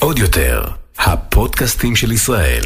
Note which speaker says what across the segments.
Speaker 1: עוד יותר, הפודקאסטים של ישראל.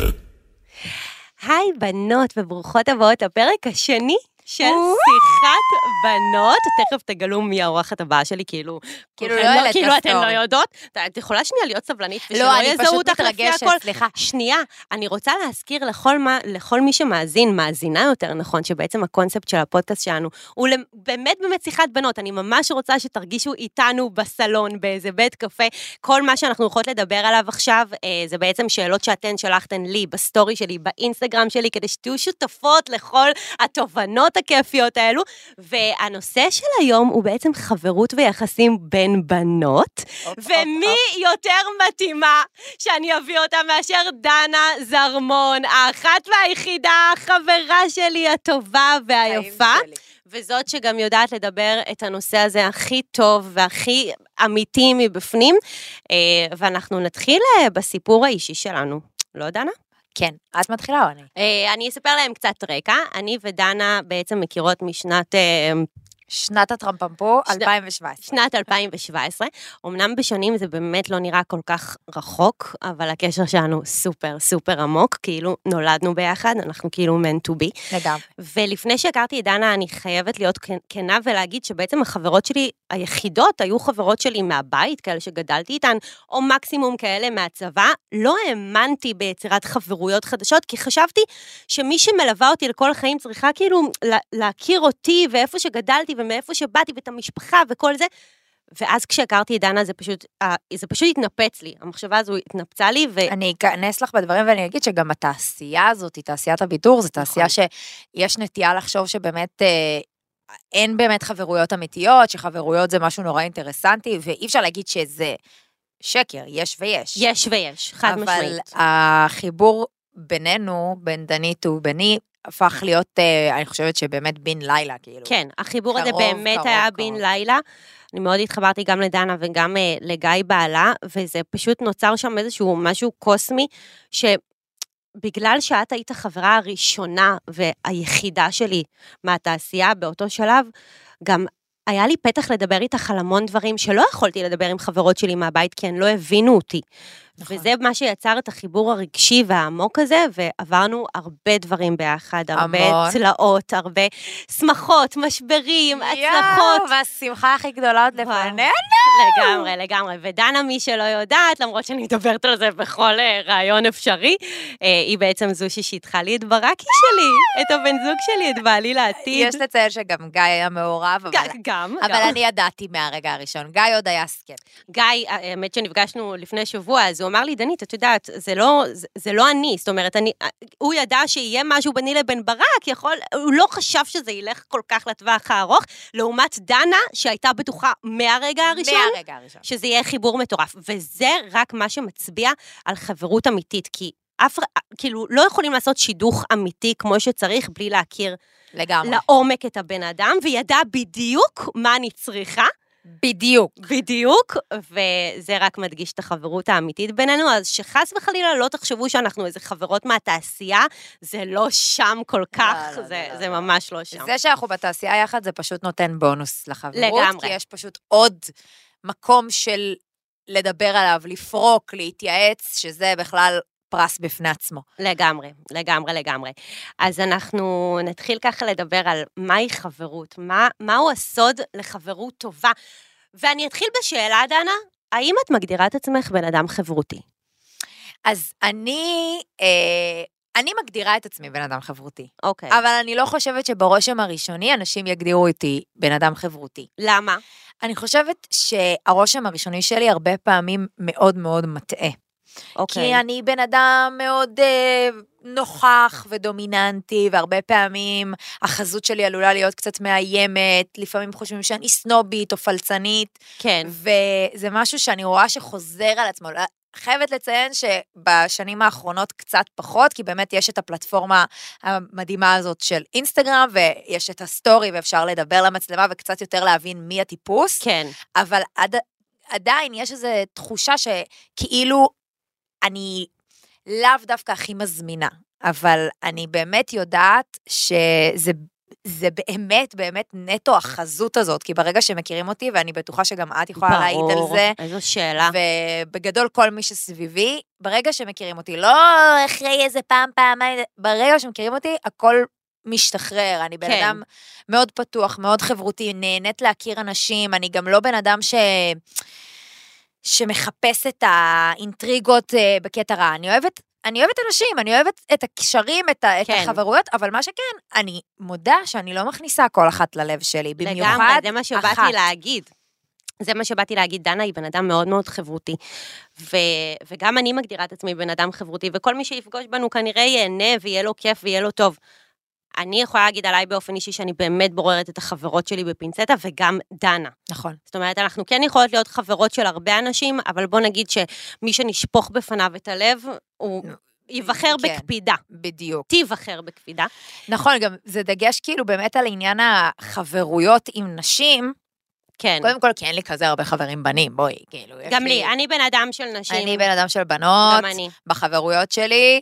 Speaker 2: היי בנות וברוכות הבאות לפרק השני של שיחת בנות. תכף תגלו מי האורחת הבאה שלי, כאילו...
Speaker 3: כאילו
Speaker 2: כולכן
Speaker 3: לא העלית
Speaker 2: כאילו אתן
Speaker 3: הסטורי.
Speaker 2: לא יודעות. ת- את יכולה שנייה להיות סבלנית ושלא
Speaker 3: לא, אני
Speaker 2: יזהו
Speaker 3: פשוט
Speaker 2: אותך לפי
Speaker 3: מתרגשת,
Speaker 2: הכל?
Speaker 3: סליחה.
Speaker 2: שנייה, אני רוצה להזכיר לכל, מה, לכל מי שמאזין, מאזינה יותר נכון, שבעצם הקונספט של הפודקאסט שלנו הוא למ- באמת באמת שיחת בנות. אני ממש רוצה שתרגישו איתנו בסלון, באיזה בית קפה. כל מה שאנחנו הולכות לדבר עליו עכשיו, אה, זה בעצם שאלות שאתן שלחתן לי, בסטורי שלי, באינסטגרם שלי, כדי שתהיו שותפות לכל התובנות הכיפיות האלו. והנושא של היום הוא בעצם חברות ויחסים בין בנות. ומי יותר מתאימה שאני אביא אותה מאשר דנה זרמון, האחת והיחידה, החברה שלי הטובה והיפה, וזאת שגם יודעת לדבר את הנושא הזה הכי טוב והכי אמיתי מבפנים, אה, ואנחנו נתחיל אה, בסיפור האישי שלנו. לא, דנה?
Speaker 3: כן, את מתחילה או אני?
Speaker 2: אה, אני אספר להם קצת רקע. אני ודנה בעצם מכירות משנת אה,
Speaker 3: שנת הטרמפמפו,
Speaker 2: שנת-
Speaker 3: 2017.
Speaker 2: שנת 2017. אמנם בשנים זה באמת לא נראה כל כך רחוק, אבל הקשר שלנו סופר סופר עמוק, כאילו נולדנו ביחד, אנחנו כאילו meant to be.
Speaker 3: לגמרי.
Speaker 2: ולפני שהכרתי את דנה, אני חייבת להיות כן- כנה ולהגיד שבעצם החברות שלי היחידות היו חברות שלי מהבית, כאלה שגדלתי איתן, או מקסימום כאלה מהצבא. לא האמנתי ביצירת חברויות חדשות, כי חשבתי שמי שמלווה אותי לכל החיים צריכה כאילו לה- להכיר אותי ואיפה שגדלתי ומאיפה שבאתי ואת המשפחה וכל זה. ואז כשהכרתי את דנה זה פשוט, אה, זה פשוט התנפץ לי, המחשבה הזו התנפצה לי, ו...
Speaker 3: אני אכנס לך בדברים ואני אגיד שגם התעשייה הזאת, היא תעשיית הבידור,
Speaker 2: נכון.
Speaker 3: זו תעשייה שיש נטייה לחשוב שבאמת אה, אין באמת חברויות אמיתיות, שחברויות זה משהו נורא אינטרסנטי, ואי אפשר להגיד שזה שקר, יש ויש.
Speaker 2: יש ויש, חד משמעית.
Speaker 3: אבל החיבור בינינו, בין דנית וביני, הפך להיות, אה, אני חושבת שבאמת בן לילה, כאילו.
Speaker 2: כן, החיבור הזה
Speaker 3: קרוב,
Speaker 2: באמת
Speaker 3: קרוב,
Speaker 2: היה
Speaker 3: קרוב.
Speaker 2: בן לילה. אני מאוד התחברתי גם לדנה וגם אה, לגיא בעלה, וזה פשוט נוצר שם איזשהו משהו קוסמי, שבגלל שאת היית החברה הראשונה והיחידה שלי מהתעשייה באותו שלב, גם היה לי פתח לדבר איתך על המון דברים שלא יכולתי לדבר עם חברות שלי מהבית, כי הן לא הבינו אותי.
Speaker 3: נכון.
Speaker 2: וזה מה שיצר את החיבור הרגשי והעמוק הזה, ועברנו הרבה דברים ביחד, הרבה
Speaker 3: המון.
Speaker 2: צלעות, הרבה שמחות, משברים, הצלחות.
Speaker 3: והשמחה הכי גדולה עוד
Speaker 2: וואו.
Speaker 3: לפנינו.
Speaker 2: לגמרי, לגמרי. ודנה, מי שלא יודעת, למרות שאני מדברת על זה בכל אה, רעיון אפשרי, אה, היא בעצם זו ששיתחה לי את ברקי שלי, את הבן זוג שלי, את בעלי לעתיד.
Speaker 3: יש לציין שגם גיא היה מעורב, אבל...
Speaker 2: ג- גם, לא.
Speaker 3: אבל
Speaker 2: גם.
Speaker 3: אני ידעתי מהרגע הראשון, גיא עוד היה סקפט.
Speaker 2: גיא, האמת שנפגשנו לפני שבוע, אז הוא אמר לי, דנית, את יודעת, זה לא, זה, זה לא אני, זאת אומרת, אני, הוא ידע שיהיה משהו ביני לבין ברק, יכול, הוא לא חשב שזה ילך כל כך לטווח הארוך, לעומת דנה, שהייתה בטוחה מהרגע הראשון.
Speaker 3: מהרגע הראשון.
Speaker 2: שזה יהיה חיבור מטורף. וזה רק מה שמצביע על חברות אמיתית, כי אף, כאילו, לא יכולים לעשות שידוך אמיתי כמו שצריך בלי להכיר
Speaker 3: לגמרי.
Speaker 2: לעומק את הבן אדם, וידע בדיוק מה אני צריכה.
Speaker 3: בדיוק.
Speaker 2: בדיוק, וזה רק מדגיש את החברות האמיתית בינינו, אז שחס וחלילה לא תחשבו שאנחנו איזה חברות מהתעשייה, זה לא שם כל כך,
Speaker 3: לא, לא,
Speaker 2: זה,
Speaker 3: לא,
Speaker 2: זה
Speaker 3: לא.
Speaker 2: ממש לא שם.
Speaker 3: זה שאנחנו בתעשייה יחד, זה פשוט נותן בונוס לחברות.
Speaker 2: לגמרי.
Speaker 3: כי יש פשוט עוד מקום של לדבר עליו, לפרוק, להתייעץ, שזה בכלל פרס בפני עצמו.
Speaker 2: לגמרי, לגמרי, לגמרי. אז אנחנו נתחיל ככה לדבר על מהי חברות, מה, מהו הסוד לחברות טובה. ואני אתחיל בשאלה, דנה, האם את מגדירה את עצמך בן אדם חברותי?
Speaker 3: אז אני... אה, אני מגדירה את עצמי בן אדם חברותי,
Speaker 2: אוקיי. אבל...
Speaker 3: אבל אני לא חושבת שברושם הראשוני אנשים יגדירו אותי בן אדם חברותי.
Speaker 2: למה?
Speaker 3: אני חושבת שהרושם הראשוני שלי הרבה פעמים מאוד מאוד מטעה.
Speaker 2: אוקיי.
Speaker 3: כי אני בן אדם מאוד אה, נוכח ודומיננטי, והרבה פעמים החזות שלי עלולה להיות קצת מאיימת, לפעמים חושבים שאני סנובית או פלצנית,
Speaker 2: כן.
Speaker 3: וזה משהו שאני רואה שחוזר על עצמו. לא- חייבת לציין שבשנים האחרונות קצת פחות, כי באמת יש את הפלטפורמה המדהימה הזאת של אינסטגרם, ויש את הסטורי, ואפשר לדבר למצלמה וקצת יותר להבין מי הטיפוס.
Speaker 2: כן.
Speaker 3: אבל עד, עדיין יש איזו תחושה שכאילו אני לאו דווקא הכי מזמינה, אבל אני באמת יודעת שזה זה באמת, באמת נטו החזות הזאת, כי ברגע שמכירים אותי, ואני בטוחה שגם את יכולה להעיד על זה,
Speaker 2: איזו שאלה.
Speaker 3: ובגדול כל מי שסביבי, ברגע שמכירים אותי, לא אחרי איזה פעם, פעמיים, ברגע שמכירים אותי, הכל משתחרר. אני בן
Speaker 2: כן.
Speaker 3: אדם מאוד פתוח, מאוד חברותי, נהנית להכיר אנשים, אני גם לא בן אדם ש... שמחפש את האינטריגות אה, בקטע רע. אני אוהבת... אני אוהבת אנשים, אני אוהבת את הקשרים, את, ה- את
Speaker 2: כן.
Speaker 3: החברויות, אבל מה שכן, אני מודה שאני לא מכניסה כל אחת ללב שלי, במיוחד
Speaker 2: לגמרי, זה מה
Speaker 3: אחת.
Speaker 2: שבאתי להגיד. זה מה שבאתי להגיד, דנה היא בן אדם מאוד מאוד חברותי. ו, וגם אני מגדירה את עצמי בן אדם חברותי, וכל מי שיפגוש בנו כנראה ייהנה ויהיה לו כיף ויהיה לו טוב. אני יכולה להגיד עליי באופן אישי שאני באמת בוררת את החברות שלי בפינצטה, וגם דנה.
Speaker 3: נכון.
Speaker 2: זאת אומרת, אנחנו כן יכולות להיות חברות של הרבה אנשים, אבל בוא נגיד שמי שנשפוך בפניו את הלב, הוא ייבחר
Speaker 3: כן.
Speaker 2: בקפידה.
Speaker 3: בדיוק.
Speaker 2: תיבחר בקפידה.
Speaker 3: נכון, גם זה דגש כאילו באמת על עניין החברויות עם נשים.
Speaker 2: כן.
Speaker 3: קודם כל, כי אין לי כזה הרבה חברים בנים, בואי, כאילו, יש
Speaker 2: גם לי, אני בן אדם של נשים.
Speaker 3: אני בן אדם של בנות,
Speaker 2: גם אני.
Speaker 3: בחברויות שלי.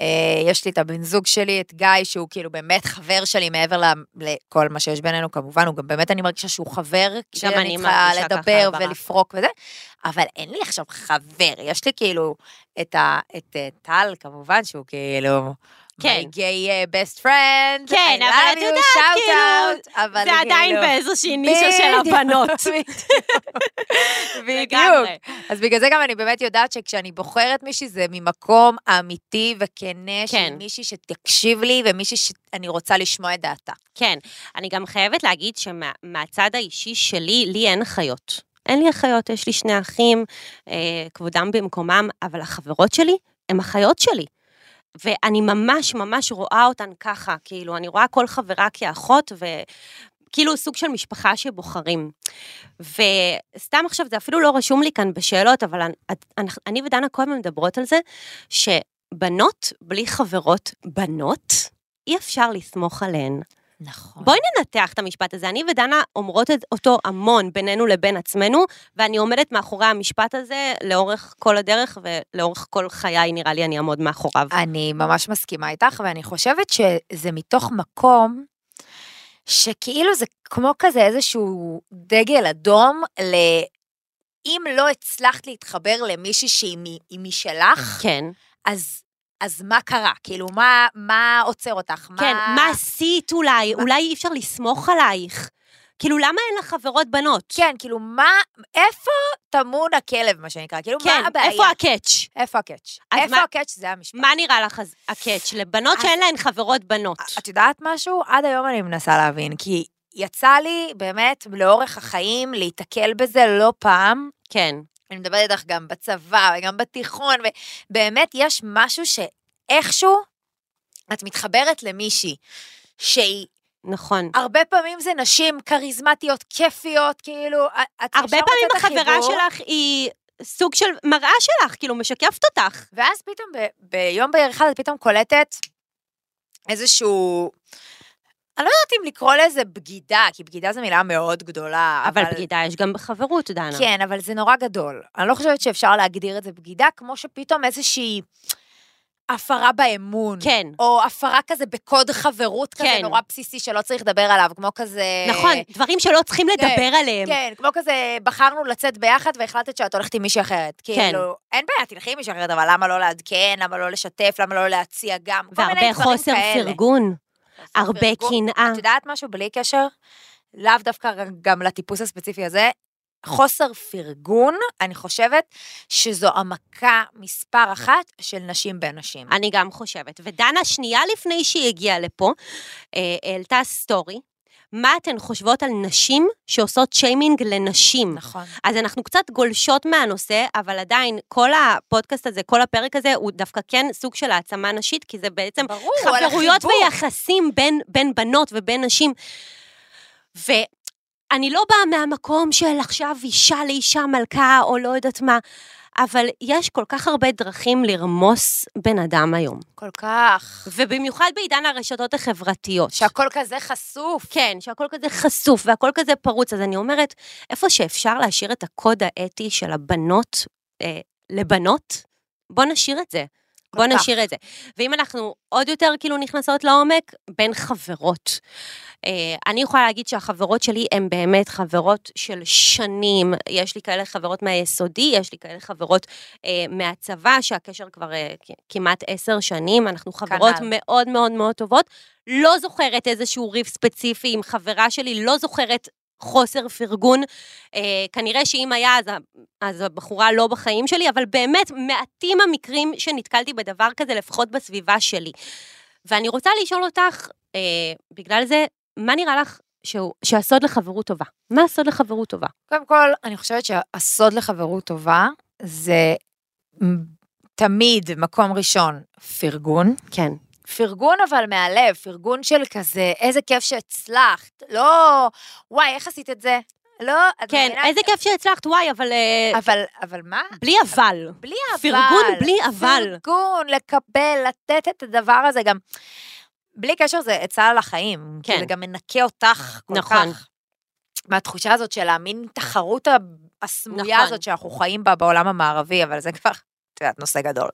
Speaker 3: אה, יש לי את הבן זוג שלי, את גיא, שהוא כאילו באמת חבר שלי מעבר ל- לכל מה שיש בינינו, כמובן, הוא גם באמת, אני מרגישה שהוא חבר,
Speaker 2: אני
Speaker 3: כשאני צריכה
Speaker 2: מרגישה ככה,
Speaker 3: לדבר
Speaker 2: ברק.
Speaker 3: ולפרוק וזה, אבל אין לי עכשיו חבר, יש לי כאילו את ה- את, אה, טל, כמובן, שהוא כאילו...
Speaker 2: כן.
Speaker 3: My gay אה, best friend,
Speaker 2: כן,
Speaker 3: I
Speaker 2: אבל
Speaker 3: love
Speaker 2: את
Speaker 3: you,
Speaker 2: יודעת,
Speaker 3: shout
Speaker 2: כאילו,
Speaker 3: out, אבל
Speaker 2: זה עדיין
Speaker 3: כאילו-
Speaker 2: באיזושהי נישה של
Speaker 3: בדיוק,
Speaker 2: הבנות.
Speaker 3: בדיוק.
Speaker 2: לגמרי.
Speaker 3: אז בגלל זה גם אני באמת יודעת שכשאני בוחרת מישהי, זה ממקום אמיתי וכנה, של
Speaker 2: כן.
Speaker 3: מישהי שתקשיב לי ומישהי שאני רוצה לשמוע את דעתה.
Speaker 2: כן. אני גם חייבת להגיד שמהצד האישי שלי, לי אין אחיות. אין לי אחיות, יש לי שני אחים, אה, כבודם במקומם, אבל החברות שלי הן אחיות שלי. ואני ממש ממש רואה אותן ככה, כאילו, אני רואה כל חברה כאחות, וכאילו סוג של משפחה שבוחרים. וסתם עכשיו, זה אפילו לא רשום לי כאן בשאלות, אבל אני, אני ודנה כל הזמן מדברות על זה, שבנות בלי חברות בנות, אי אפשר לסמוך עליהן.
Speaker 3: נכון.
Speaker 2: אוקיי. בואי ננתח את המשפט הזה. אני ודנה אומרות את אותו המון בינינו לבין עצמנו, ואני עומדת מאחורי המשפט הזה לאורך כל הדרך, ולאורך כל חיי, נראה לי, אני אעמוד מאחוריו.
Speaker 3: אני ממש מסכימה איתך, ואני חושבת שזה מתוך מקום שכאילו זה כמו כזה איזשהו דגל אדום ל... אם לא הצלחת להתחבר למישהי שהיא מ- היא משלך,
Speaker 2: כן.
Speaker 3: אז, אז מה קרה? כאילו, מה, מה עוצר אותך?
Speaker 2: כן, מה עשית אולי? אולי אי אפשר לסמוך עלייך. כאילו, למה אין לך חברות בנות?
Speaker 3: כן, כאילו, מה, איפה טמון הכלב, מה שנקרא? כאילו,
Speaker 2: כן,
Speaker 3: מה הבעיה?
Speaker 2: איפה הקאץ'?
Speaker 3: איפה הקאץ'?
Speaker 2: אז
Speaker 3: איפה
Speaker 2: מה-
Speaker 3: הקאץ' זה המשפט.
Speaker 2: מה נראה לך אז- הקאץ'? לבנות
Speaker 3: אז-
Speaker 2: שאין להן חברות בנות.
Speaker 3: אה, את יודעת משהו? עד היום אני מנסה להבין, כי יצא לי באמת לאורך החיים להיתקל בזה לא פעם.
Speaker 2: כן,
Speaker 3: אני מדברת איתך גם בצבא וגם בתיכון, ובאמת יש משהו שאיכשהו את מתחברת למישהי שהיא,
Speaker 2: נכון.
Speaker 3: הרבה פעמים זה נשים כריזמטיות, כיפיות, כאילו, את את
Speaker 2: הרבה
Speaker 3: ישר
Speaker 2: פעמים
Speaker 3: מוצאת את
Speaker 2: החברה
Speaker 3: החיבור.
Speaker 2: שלך היא סוג של מראה שלך, כאילו, משקפת אותך.
Speaker 3: ואז פתאום ב- ביום בהיר אחד את פתאום קולטת איזשהו... אני לא יודעת אם לקרוא לזה בגידה, כי בגידה זו מילה מאוד גדולה.
Speaker 2: אבל בגידה יש גם בחברות, דנה.
Speaker 3: כן, אבל זה נורא גדול. אני לא חושבת שאפשר להגדיר את זה בגידה, כמו שפתאום איזושהי הפרה באמון.
Speaker 2: כן.
Speaker 3: או הפרה כזה בקוד חברות כזה
Speaker 2: כן.
Speaker 3: נורא בסיסי שלא צריך לדבר עליו, כמו כזה...
Speaker 2: נכון, דברים שלא צריכים לדבר עליהם.
Speaker 3: אה, כן, כמו כזה, בחרנו לצאת ביחד והחלטת שאת הולכת עם מישהי אחרת.
Speaker 2: כן.
Speaker 3: כאילו, אין בעיה, תלכי עם מישהי אחרת, אבל למה לא לעדכן, למה לא לשתף, למה לא להציע גם, כל מיני
Speaker 2: והרבה
Speaker 3: דברים כאלה.
Speaker 2: חוסר פרגון,
Speaker 3: חוסר
Speaker 2: הרבה
Speaker 3: פרגון.
Speaker 2: קנאה.
Speaker 3: את יודעת משהו בלי קשר? לאו דווקא גם לטיפוס הספציפי הזה. חוסר פרגון, אני חושבת שזו המכה מספר אחת של נשים בין נשים.
Speaker 2: אני גם חושבת. ודנה, שנייה לפני שהיא הגיעה לפה, אה, העלתה סטורי. מה אתן חושבות על נשים שעושות שיימינג לנשים?
Speaker 3: נכון.
Speaker 2: אז אנחנו קצת גולשות מהנושא, אבל עדיין כל הפודקאסט הזה, כל הפרק הזה, הוא דווקא כן סוג של העצמה נשית, כי זה בעצם
Speaker 3: ברור, על
Speaker 2: חברויות
Speaker 3: החיבור.
Speaker 2: ויחסים בין, בין בנות ובין נשים. ואני לא באה מהמקום של עכשיו אישה לאישה מלכה, או לא יודעת מה, אבל יש כל כך הרבה דרכים לרמוס בן אדם היום.
Speaker 3: כל כך.
Speaker 2: ובמיוחד בעידן הרשתות החברתיות.
Speaker 3: שהכל כזה חשוף.
Speaker 2: כן, שהכל כזה חשוף והכל כזה פרוץ, אז אני אומרת, איפה שאפשר להשאיר את הקוד האתי של הבנות אה, לבנות, בוא נשאיר את זה. בוא
Speaker 3: כל כך.
Speaker 2: נשאיר את זה. ואם אנחנו עוד יותר כאילו נכנסות לעומק, בין חברות. אה, אני יכולה להגיד שהחברות שלי הן באמת חברות של שנים. יש לי כאלה חברות מהיסודי, יש לי כאלה חברות אה, מהצבא, שהקשר כבר אה, כ- כמעט עשר שנים, אנחנו חברות
Speaker 3: כנ"ל.
Speaker 2: מאוד מאוד מאוד טובות. לא זוכרת איזשהו ריב ספציפי עם חברה שלי, לא זוכרת חוסר פרגון. אה, כנראה שאם היה, אז, ה- אז הבחורה לא בחיים שלי, אבל באמת, מעטים המקרים שנתקלתי בדבר כזה, לפחות בסביבה שלי. ואני רוצה לשאול אותך, אה, בגלל זה, מה נראה לך שהוא, שהסוד לחברות טובה? מה הסוד לחברות טובה?
Speaker 3: קודם כל, אני חושבת שהסוד לחברות טובה זה תמיד, מקום ראשון, פרגון.
Speaker 2: כן.
Speaker 3: פרגון אבל מהלב, פרגון של כזה, איזה כיף שהצלחת. לא, וואי, איך עשית את זה? לא, את
Speaker 2: כן,
Speaker 3: מבינה?
Speaker 2: איזה כיף שהצלחת, וואי, אבל... אה,
Speaker 3: אבל, אבל מה?
Speaker 2: בלי אבל.
Speaker 3: בלי אבל.
Speaker 2: פרגון בלי אבל.
Speaker 3: פרגון, לקבל, לתת את הדבר הזה גם. בלי קשר זה עצה על החיים.
Speaker 2: כן.
Speaker 3: כי זה גם מנקה אותך כל
Speaker 2: נכון.
Speaker 3: כך. מהתחושה הזאת של המין תחרות ה- הסמויה
Speaker 2: נכון.
Speaker 3: הזאת שאנחנו חיים בה בעולם המערבי, אבל זה כבר, את יודעת, נושא גדול.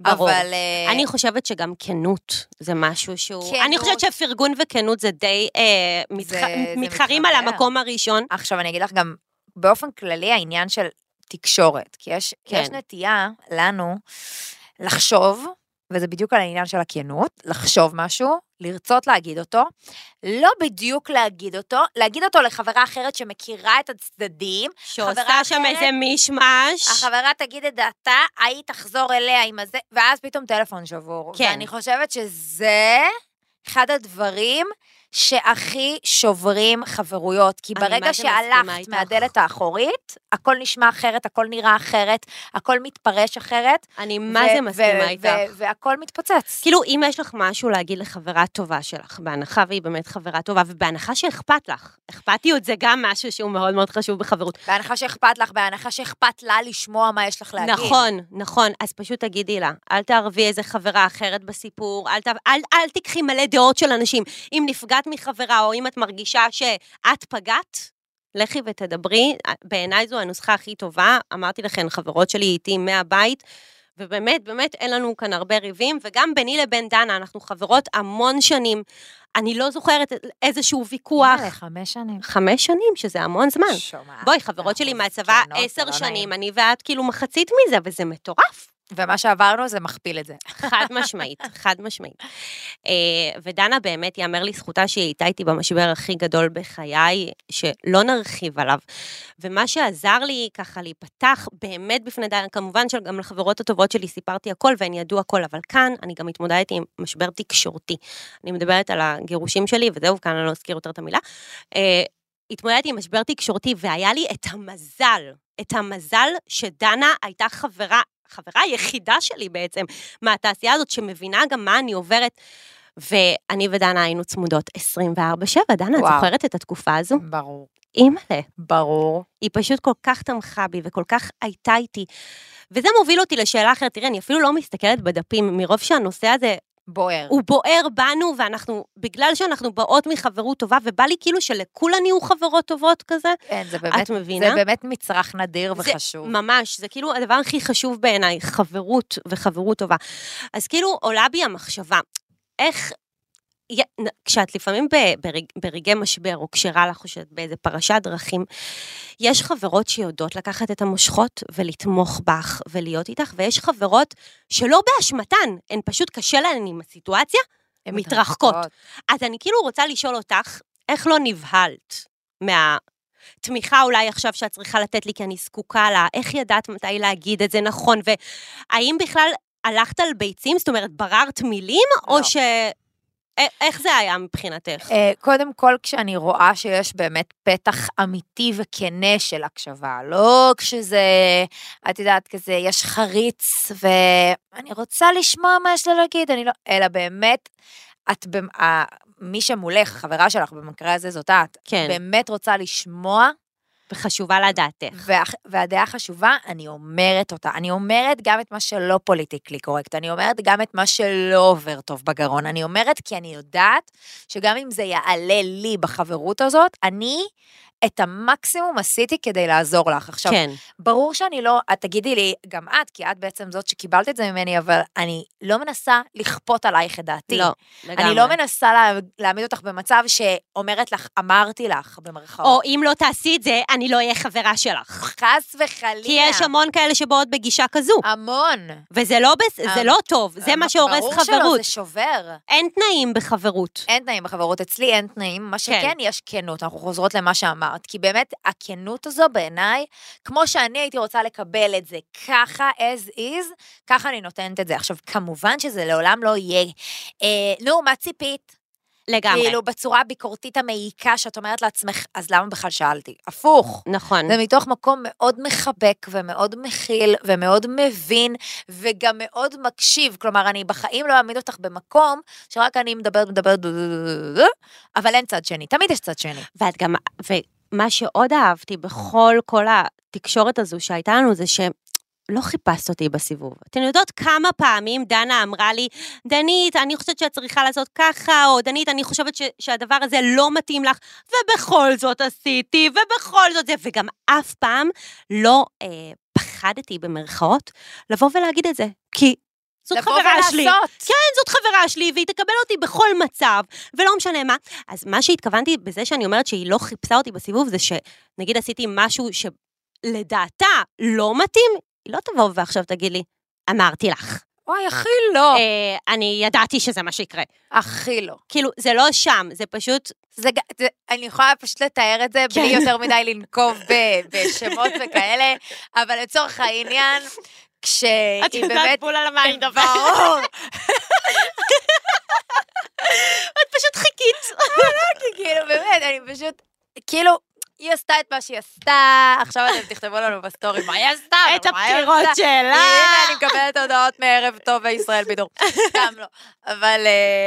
Speaker 2: ברור.
Speaker 3: אבל... אה,
Speaker 2: אני חושבת שגם כנות זה משהו שהוא...
Speaker 3: כנות.
Speaker 2: אני חושבת שפרגון וכנות זה די... אה, מתח...
Speaker 3: זה- זה
Speaker 2: מתחרים על
Speaker 3: מתחבר.
Speaker 2: המקום הראשון.
Speaker 3: עכשיו, אני אגיד לך גם, באופן כללי, העניין של תקשורת. כי יש, כן.
Speaker 2: כן.
Speaker 3: יש נטייה לנו לחשוב, וזה בדיוק על העניין של הכנות, לחשוב משהו, לרצות להגיד אותו, לא בדיוק להגיד אותו, להגיד אותו לחברה אחרת שמכירה את הצדדים,
Speaker 2: שעושה
Speaker 3: חברה
Speaker 2: שם
Speaker 3: אחרת-
Speaker 2: איזה מישמש.
Speaker 3: החברה תגיד את דעתה, ההיא תחזור אליה עם הזה, ואז פתאום טלפון שבור.
Speaker 2: כן.
Speaker 3: ואני חושבת שזה אחד הדברים שהכי שוברים חברויות. כי
Speaker 2: אני מה
Speaker 3: ברגע
Speaker 2: זה מסכימה
Speaker 3: שהלכת
Speaker 2: איתך.
Speaker 3: מהדלת האחורית, הכל נשמע אחרת, הכל נראה אחרת, הכל מתפרש אחרת.
Speaker 2: אני מה
Speaker 3: ו-
Speaker 2: זה מסכימה
Speaker 3: ו-
Speaker 2: איתך.
Speaker 3: ו- והכל מתפוצץ.
Speaker 2: כאילו, אם יש לך משהו להגיד לחברה טובה שלך, בהנחה והיא באמת חברה טובה, ובהנחה שאכפת לך, אכפתיות זה גם משהו שהוא מאוד מאוד חשוב בחברות.
Speaker 3: בהנחה שאכפת לך, בהנחה שאכפת לה לשמוע מה יש לך להגיד.
Speaker 2: נכון, נכון, אז פשוט תגידי לה, אל תערבי איזה חברה אחרת בסיפור, אל, ת, אל, אל תיקחי מלא דעות של אנשים. אם נפגעת מחברה, או אם את מרגישה שאת פגעת, לכי ותדברי, בעיניי זו הנוסחה הכי טובה, אמרתי לכן, חברות שלי איתי מהבית, ובאמת, באמת אין לנו כאן הרבה ריבים, וגם ביני לבין דנה, אנחנו חברות המון שנים, אני לא זוכרת איזשהו ויכוח,
Speaker 3: וואלה, חמש שנים.
Speaker 2: חמש שנים, שזה המון זמן.
Speaker 3: שומעת.
Speaker 2: בואי, חברות שלי
Speaker 3: אנחנו
Speaker 2: מהצבא
Speaker 3: זקנות, זה
Speaker 2: עשר
Speaker 3: לא
Speaker 2: שנים,
Speaker 3: נעים.
Speaker 2: אני ואת כאילו מחצית מזה, וזה מטורף.
Speaker 3: ומה שעברנו זה מכפיל את זה.
Speaker 2: חד משמעית, חד משמעית. אה, ודנה באמת, יאמר לזכותה שהיא הייתה איתי במשבר הכי גדול בחיי, שלא נרחיב עליו. ומה שעזר לי ככה להיפתח באמת בפני דנה, כמובן שגם לחברות הטובות שלי סיפרתי הכל והן ידעו הכל, אבל כאן אני גם התמודדתי עם משבר תקשורתי. אני מדברת על הגירושים שלי, וזהו, כאן אני לא אזכיר יותר את המילה. אה, התמודדתי עם משבר תקשורתי, והיה לי את המזל, את המזל שדנה הייתה חברה, חברה היחידה שלי בעצם, מהתעשייה הזאת, שמבינה גם מה אני עוברת. ואני ודנה היינו צמודות 24-7, דנה, את
Speaker 3: וואו.
Speaker 2: זוכרת את התקופה הזו?
Speaker 3: ברור.
Speaker 2: אימא'לה.
Speaker 3: ברור.
Speaker 2: היא פשוט כל כך תמכה בי וכל כך הייתה איתי. וזה מוביל אותי לשאלה אחרת, תראי, אני אפילו לא מסתכלת בדפים, מרוב שהנושא הזה
Speaker 3: בוער.
Speaker 2: הוא בוער בנו, ואנחנו, בגלל שאנחנו באות מחברות טובה, ובא לי כאילו שלכולן יהיו חברות טובות כזה,
Speaker 3: כן, זה באמת,
Speaker 2: את מבינה?
Speaker 3: זה באמת מצרך נדיר
Speaker 2: זה
Speaker 3: וחשוב.
Speaker 2: ממש, זה כאילו הדבר הכי חשוב בעיניי, חברות וחברות טובה. אז כאילו עולה בי המחשבה, איך... י- נ- כשאת לפעמים ב- ברג, ברגעי משבר, או כשרע לך, או שאת באיזה פרשת דרכים, יש חברות שיודעות לקחת את המושכות ולתמוך בך ולהיות איתך, ויש חברות שלא באשמתן, הן פשוט קשה להן עם הסיטואציה,
Speaker 3: הן
Speaker 2: מתרחקות. אז אני כאילו רוצה לשאול אותך, איך לא נבהלת מהתמיכה אולי עכשיו שאת צריכה לתת לי כי אני זקוקה לה? איך ידעת מתי להגיד את זה נכון? והאם בכלל הלכת על ביצים? זאת אומרת, בררת מילים?
Speaker 3: לא.
Speaker 2: או ש... א- איך זה היה מבחינתך?
Speaker 3: אה, קודם כל, כשאני רואה שיש באמת פתח אמיתי וכנה של הקשבה, לא כשזה, את יודעת, כזה, יש חריץ, ואני רוצה לשמוע מה יש לו להגיד, אני לא, אלא באמת, את, במ- ה- מי שמולך, חברה שלך, במקרה הזה זאת את,
Speaker 2: כן,
Speaker 3: באמת רוצה לשמוע
Speaker 2: וחשובה לדעתך.
Speaker 3: והח- והדעה חשובה, אני אומרת אותה. אני אומרת גם את מה שלא פוליטיקלי קורקט, אני אומרת גם את מה שלא עובר טוב בגרון. אני אומרת כי אני יודעת שגם אם זה יעלה לי בחברות הזאת, אני את המקסימום עשיתי כדי לעזור לך. עכשיו,
Speaker 2: כן.
Speaker 3: ברור שאני לא, את תגידי לי, גם את, כי את בעצם זאת שקיבלת את זה ממני, אבל אני לא מנסה לכפות עלייך את דעתי.
Speaker 2: לא, לגמרי.
Speaker 3: אני לא מנסה לה, להעמיד אותך במצב שאומרת לך, אמרתי לך, במרכאות.
Speaker 2: או אם לא תעשי את זה, אני לא אהיה חברה שלך.
Speaker 3: חס וחלילה.
Speaker 2: כי יש המון כאלה שבאות בגישה כזו,
Speaker 3: אה. המון.
Speaker 2: וזה לא, בס... זה
Speaker 3: אמ-
Speaker 2: לא טוב, זה מה שהורס
Speaker 3: ברור שלא,
Speaker 2: חברות.
Speaker 3: זה שובר.
Speaker 2: אין תנאים בחברות.
Speaker 3: אין תנאים בחברות, אצלי אין תנאים, מה שכן
Speaker 2: כן.
Speaker 3: יש כנות, אנחנו חוזרות למה שאמרת, כי באמת הכנות הזו בעיניי, כמו שאני הייתי רוצה לקבל את זה ככה as is, ככה אני נותנת את זה. עכשיו, כמובן שזה לעולם לא יהיה, אה, נו, מה ציפית?
Speaker 2: לגמרי.
Speaker 3: כאילו, בצורה הביקורתית המעיקה שאת אומרת לעצמך, אז למה בכלל שאלתי? הפוך.
Speaker 2: נכון.
Speaker 3: זה מתוך מקום מאוד מחבק ומאוד מכיל ומאוד מבין וגם מאוד מקשיב. כלומר, אני בחיים לא אעמיד אותך במקום שרק אני מדברת, מדברת, דו, דו, דו, דו, דו, אבל אין צד שני, תמיד יש צד שני.
Speaker 2: ואת גם, ומה שעוד אהבתי בכל כל התקשורת הזו שהייתה לנו זה ש... לא חיפשת אותי בסיבוב. אתן יודעות כמה פעמים דנה אמרה לי, דנית, אני חושבת שאת צריכה לעשות ככה, או דנית, אני חושבת ש- שהדבר הזה לא מתאים לך, ובכל זאת עשיתי, ובכל זאת זה, וגם אף פעם לא אה, פחדתי במרכאות לבוא ולהגיד את זה, כי זאת
Speaker 3: לבוא
Speaker 2: חברה שלי.
Speaker 3: ולעשות.
Speaker 2: כן, זאת חברה שלי, והיא תקבל אותי בכל מצב, ולא משנה מה. אז מה שהתכוונתי בזה שאני אומרת שהיא לא חיפשה אותי בסיבוב, זה שנגיד עשיתי משהו שלדעתה לא מתאים, היא לא תבוא ועכשיו תגיד לי, אמרתי לך.
Speaker 3: אוי, הכי לא.
Speaker 2: אה, אני ידעתי שזה מה שיקרה.
Speaker 3: הכי לא.
Speaker 2: כאילו, זה לא שם, זה פשוט...
Speaker 3: זה, ג- זה, אני יכולה פשוט לתאר את זה בלי
Speaker 2: כן.
Speaker 3: יותר מדי לנקוב ב, בשמות וכאלה, אבל לצורך העניין, כשהיא
Speaker 2: את יודעת
Speaker 3: באמת...
Speaker 2: בול על מה אני מדברת.
Speaker 3: ברור.
Speaker 2: את פשוט חיכית.
Speaker 3: כאילו, באמת, אני פשוט, כאילו, היא עשתה את מה שהיא עשתה, עכשיו אתם תכתבו לנו בסטורי אה, לא, מה היא עשתה,
Speaker 2: את
Speaker 3: ומה היא
Speaker 2: הבחירות
Speaker 3: עשתה.
Speaker 2: שלה.
Speaker 3: הנה, אני מקבלת הודעות מערב טוב וישראל בידור. סתם לא. אבל...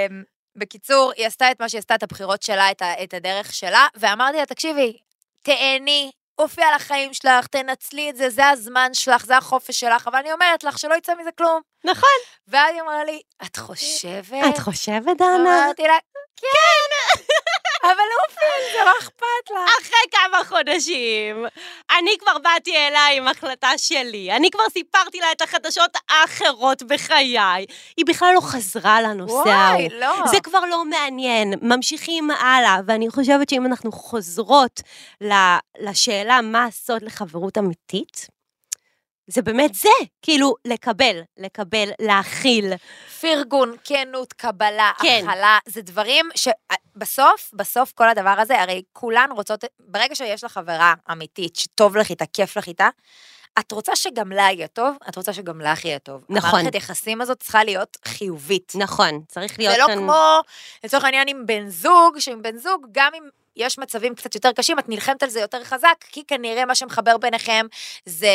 Speaker 3: אמ, בקיצור, היא עשתה את מה שהיא עשתה, את הבחירות שלה, את, ה- את הדרך שלה, ואמרתי לה, תקשיבי, תהני, עופי על החיים שלך, תנצלי את זה, זה הזמן שלך, זה החופש שלך, אבל אני אומרת לך שלא יצא מזה כלום.
Speaker 2: נכון.
Speaker 3: ואז היא אמרה לי, את חושבת?
Speaker 2: את חושבת, דנה?
Speaker 3: אמרתי לה, כן, אבל אופן, זה לא אכפת לך.
Speaker 2: אחרי כמה חודשים, אני כבר באתי אליה עם החלטה שלי, אני כבר סיפרתי לה את החדשות האחרות בחיי. היא בכלל לא חזרה לנושא ההוא.
Speaker 3: וואי, לא.
Speaker 2: זה כבר לא מעניין, ממשיכים הלאה, ואני חושבת שאם אנחנו חוזרות ל- לשאלה מה הסוד לחברות אמיתית, זה באמת זה, כאילו, לקבל, לקבל, להכיל.
Speaker 3: פרגון, כנות, קבלה,
Speaker 2: כן.
Speaker 3: הכלה, זה דברים שבסוף, בסוף כל הדבר הזה, הרי כולן רוצות, ברגע שיש לך חברה אמיתית, שטוב לך איתה, כיף לך איתה, את רוצה שגם לה יהיה טוב, את רוצה שגם לך יהיה טוב.
Speaker 2: נכון.
Speaker 3: המערכת יחסים הזאת צריכה להיות חיובית.
Speaker 2: נכון, צריך להיות
Speaker 3: זה לא
Speaker 2: כאן...
Speaker 3: כמו, לצורך העניין, עם בן זוג, שעם בן זוג, גם אם יש מצבים קצת יותר קשים, את נלחמת על זה יותר חזק, כי כנראה מה שמחבר ביניכם זה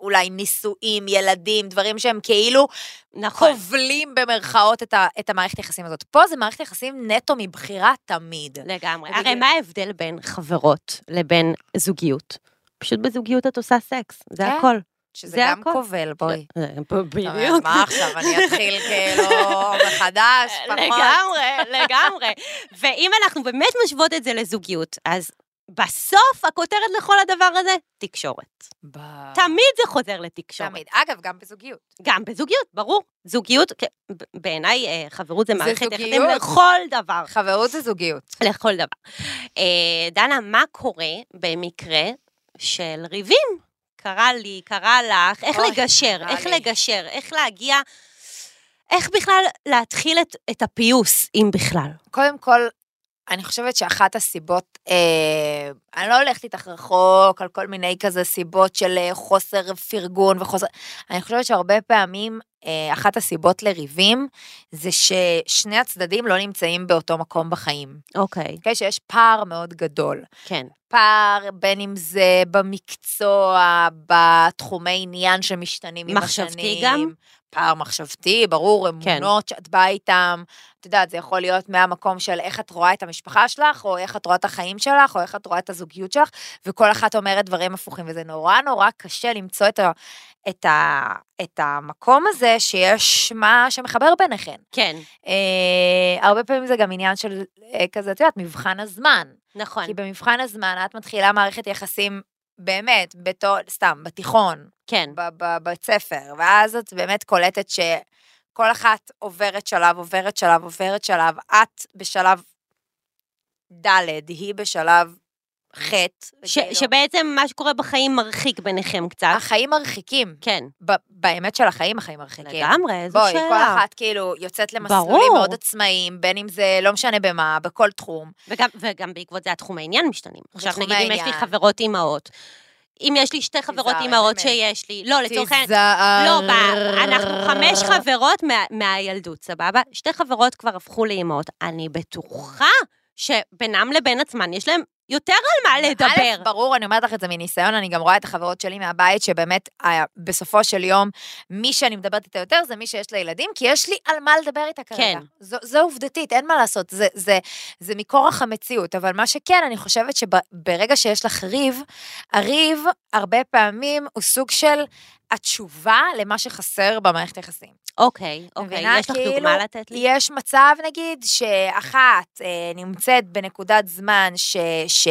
Speaker 3: אולי נישואים, ילדים, דברים שהם כאילו
Speaker 2: נכון.
Speaker 3: כובלים במרכאות את, ה, את המערכת יחסים הזאת. פה זה מערכת יחסים נטו מבחירה תמיד.
Speaker 2: לגמרי.
Speaker 3: ובגלל-
Speaker 2: הרי מה ההבדל בין חברות לבין זוגיות? פשוט בזוגיות את עושה סקס, זה
Speaker 3: כן,
Speaker 2: הכל.
Speaker 3: שזה
Speaker 2: זה
Speaker 3: גם
Speaker 2: הכל.
Speaker 3: כובל, בואי. אתה אומר,
Speaker 2: בדיוק.
Speaker 3: מה עכשיו, אני אתחיל כאילו מחדש, פחות.
Speaker 2: לגמרי, לגמרי. ואם אנחנו באמת משוות את זה לזוגיות, אז בסוף הכותרת לכל הדבר הזה, תקשורת.
Speaker 3: ב-
Speaker 2: תמיד זה חוזר לתקשורת.
Speaker 3: תמיד. אגב, גם בזוגיות.
Speaker 2: גם בזוגיות, ברור. זוגיות, כן, ב- בעיניי אה, חברות זה
Speaker 3: זה
Speaker 2: מערכת יחסים
Speaker 3: זוגיות.
Speaker 2: לכל דבר.
Speaker 3: חברות זה זוגיות.
Speaker 2: לכל דבר. אה, דנה, מה קורה במקרה של ריבים? קרה לי, קרה לך, איך
Speaker 3: אוי,
Speaker 2: לגשר,
Speaker 3: קרה
Speaker 2: איך
Speaker 3: לי.
Speaker 2: לגשר, איך להגיע, איך בכלל להתחיל את, את הפיוס, אם בכלל.
Speaker 3: קודם כל, אני חושבת שאחת הסיבות, אה, אני לא הולכת איתך רחוק על כל מיני כזה סיבות של אה, חוסר פרגון וחוסר, אני חושבת שהרבה פעמים אה, אחת הסיבות לריבים זה ששני הצדדים לא נמצאים באותו מקום בחיים,
Speaker 2: אוקיי,
Speaker 3: אוקיי? שיש פער מאוד גדול.
Speaker 2: כן,
Speaker 3: פער, בין אם זה במקצוע, בתחומי עניין שמשתנים עם השנים.
Speaker 2: מחשבתי גם?
Speaker 3: פער מחשבתי, ברור,
Speaker 2: כן.
Speaker 3: אמונות שאת באה איתן. את יודעת, זה יכול להיות מהמקום של איך את רואה את המשפחה שלך, או איך את רואה את החיים שלך, או איך את רואה את הזוגיות שלך, וכל אחת אומרת דברים הפוכים, וזה נורא נורא קשה למצוא את, ה, את, ה, את המקום הזה שיש מה שמחבר ביניכן.
Speaker 2: כן,
Speaker 3: אה, הרבה פעמים זה גם עניין של אה, כזה, את יודעת, מבחן הזמן.
Speaker 2: נכון.
Speaker 3: כי במבחן הזמן את מתחילה מערכת יחסים באמת, בתור, סתם, בתיכון,
Speaker 2: כן.
Speaker 3: ב- ב- בבית ספר, ואז את באמת קולטת שכל אחת עוברת שלב, עוברת שלב, עוברת שלב, את בשלב ד', היא בשלב ח',
Speaker 2: ש-
Speaker 3: וכאילו,
Speaker 2: שבעצם מה שקורה בחיים מרחיק ביניכם קצת.
Speaker 3: החיים מרחיקים.
Speaker 2: כן.
Speaker 3: ב- באמת של החיים, החיים מרחיקים.
Speaker 2: לגמרי, איזו
Speaker 3: כן. בואי,
Speaker 2: שאלה.
Speaker 3: כל אחת כאילו יוצאת למסלולים
Speaker 2: ברור.
Speaker 3: מאוד עצמאיים, בין אם זה לא משנה במה, בכל תחום.
Speaker 2: וגם, וגם בעקבות זה התחום העניין משתנים. עכשיו
Speaker 3: תחום
Speaker 2: נגיד אם יש לי
Speaker 3: העניין.
Speaker 2: חברות אימהות, אם יש לי שתי חברות
Speaker 3: תיזהרי,
Speaker 2: אימהות
Speaker 3: באמת.
Speaker 2: שיש לי, לא, לצורך העניין,
Speaker 3: תיזהר.
Speaker 2: לא, ב- אנחנו חמש חברות מה- מהילדות, סבבה? שתי חברות כבר הפכו לאימהות. אני בטוחה שבינם לבין עצמן יש להם יותר על מה
Speaker 3: א',
Speaker 2: לדבר.
Speaker 3: ברור, אני אומרת לך את זה מניסיון, אני גם רואה את החברות שלי מהבית, שבאמת, אה, בסופו של יום, מי שאני מדברת איתה יותר זה מי שיש לה ילדים, כי יש לי על מה לדבר איתה כרגע.
Speaker 2: כן.
Speaker 3: זו, זו עובדתית, אין מה לעשות, זה, זה, זה מכורח המציאות. אבל מה שכן, אני חושבת שברגע שיש לך ריב, הריב הרבה פעמים הוא סוג של התשובה למה שחסר במערכת היחסים.
Speaker 2: אוקיי, אוקיי,
Speaker 3: מבינה?
Speaker 2: יש לך
Speaker 3: כאילו,
Speaker 2: דוגמה לתת לי?
Speaker 3: יש מצב, נגיד, שאחת אה, נמצאת בנקודת זמן ש... ש...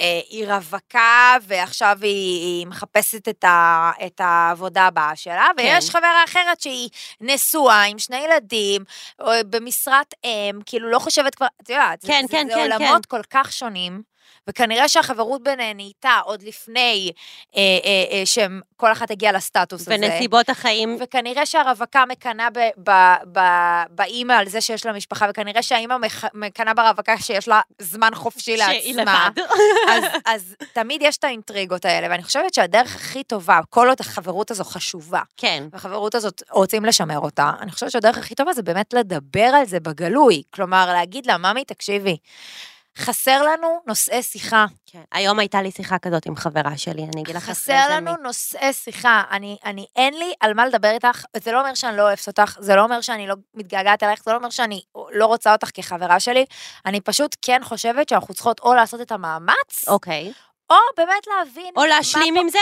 Speaker 3: אה, היא רווקה, ועכשיו היא, היא מחפשת את, ה, את העבודה הבאה שלה, כן. ויש חברה אחרת שהיא נשואה עם שני ילדים, או במשרת אם, כאילו לא חושבת כבר, את יודעת,
Speaker 2: כן,
Speaker 3: זה,
Speaker 2: כן,
Speaker 3: זה
Speaker 2: כן,
Speaker 3: עולמות כל כך שונים, וכנראה שהחברות ביניהן נהייתה עוד לפני אה, אה, אה, שהם, כל אחת הגיעה לסטטוס הזה.
Speaker 2: בנסיבות החיים,
Speaker 3: וכנראה שהרווקה מקנאה ב- ב- ב- באימא על זה שיש לה משפחה, וכנראה שהאימא מח- מקנאה ברווקה שיש לה זמן חופשי
Speaker 2: שהיא
Speaker 3: לעצמה.
Speaker 2: לבד.
Speaker 3: אז, אז תמיד יש את האינטריגות האלה, ואני חושבת שהדרך הכי טובה, כל עוד החברות הזו חשובה,
Speaker 2: כן.
Speaker 3: והחברות הזאת רוצים לשמר אותה, אני חושבת שהדרך הכי טובה זה באמת לדבר על זה בגלוי. כלומר, להגיד לה, ממי, תקשיבי, חסר לנו נושאי שיחה.
Speaker 2: כן. היום הייתה לי שיחה כזאת עם חברה שלי, אני אגיד לך אחרי זה.
Speaker 3: כאילו, חסר
Speaker 2: מי.
Speaker 3: לנו נושאי שיחה. אני, אני, אין לי על מה לדבר איתך, זה לא אומר שאני לא אוהבת אותך, זה לא אומר שאני לא מתגעגעת אלייך, זה לא אומר שאני לא רוצה אותך כחברה שלי. אני פשוט כן חושבת שאנחנו צריכות או לעשות את המאמץ, או,
Speaker 2: אוקיי.
Speaker 3: או באמת להבין...
Speaker 2: או
Speaker 3: מה
Speaker 2: להשלים עם זה?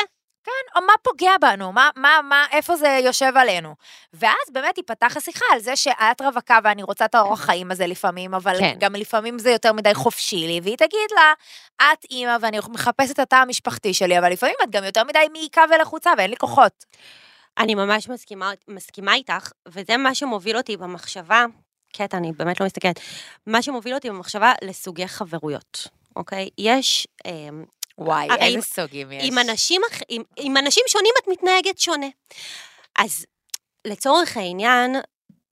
Speaker 3: או מה פוגע בנו, מה, מה, מה, איפה זה יושב עלינו. ואז באמת תיפתח השיחה על זה שאת רווקה ואני רוצה את האורח חיים הזה לפעמים, אבל
Speaker 2: כן.
Speaker 3: כן. גם לפעמים זה יותר מדי חופשי לי, והיא תגיד לה, את אימא ואני מחפשת את התא המשפחתי שלי, אבל לפעמים את גם יותר מדי מעיקה ולחוצה ואין לי כוחות.
Speaker 2: אני ממש מסכימה, מסכימה איתך, וזה מה שמוביל אותי במחשבה, קטע, אני באמת לא מסתכלת, מה שמוביל אותי במחשבה לסוגי חברויות, אוקיי? יש, אמ,
Speaker 3: וואי,
Speaker 2: הרי עם-
Speaker 3: סוגים יש.
Speaker 2: עם, אנשים, אח- עם, עם אנשים שונים את מתנהגת שונה. אז לצורך העניין,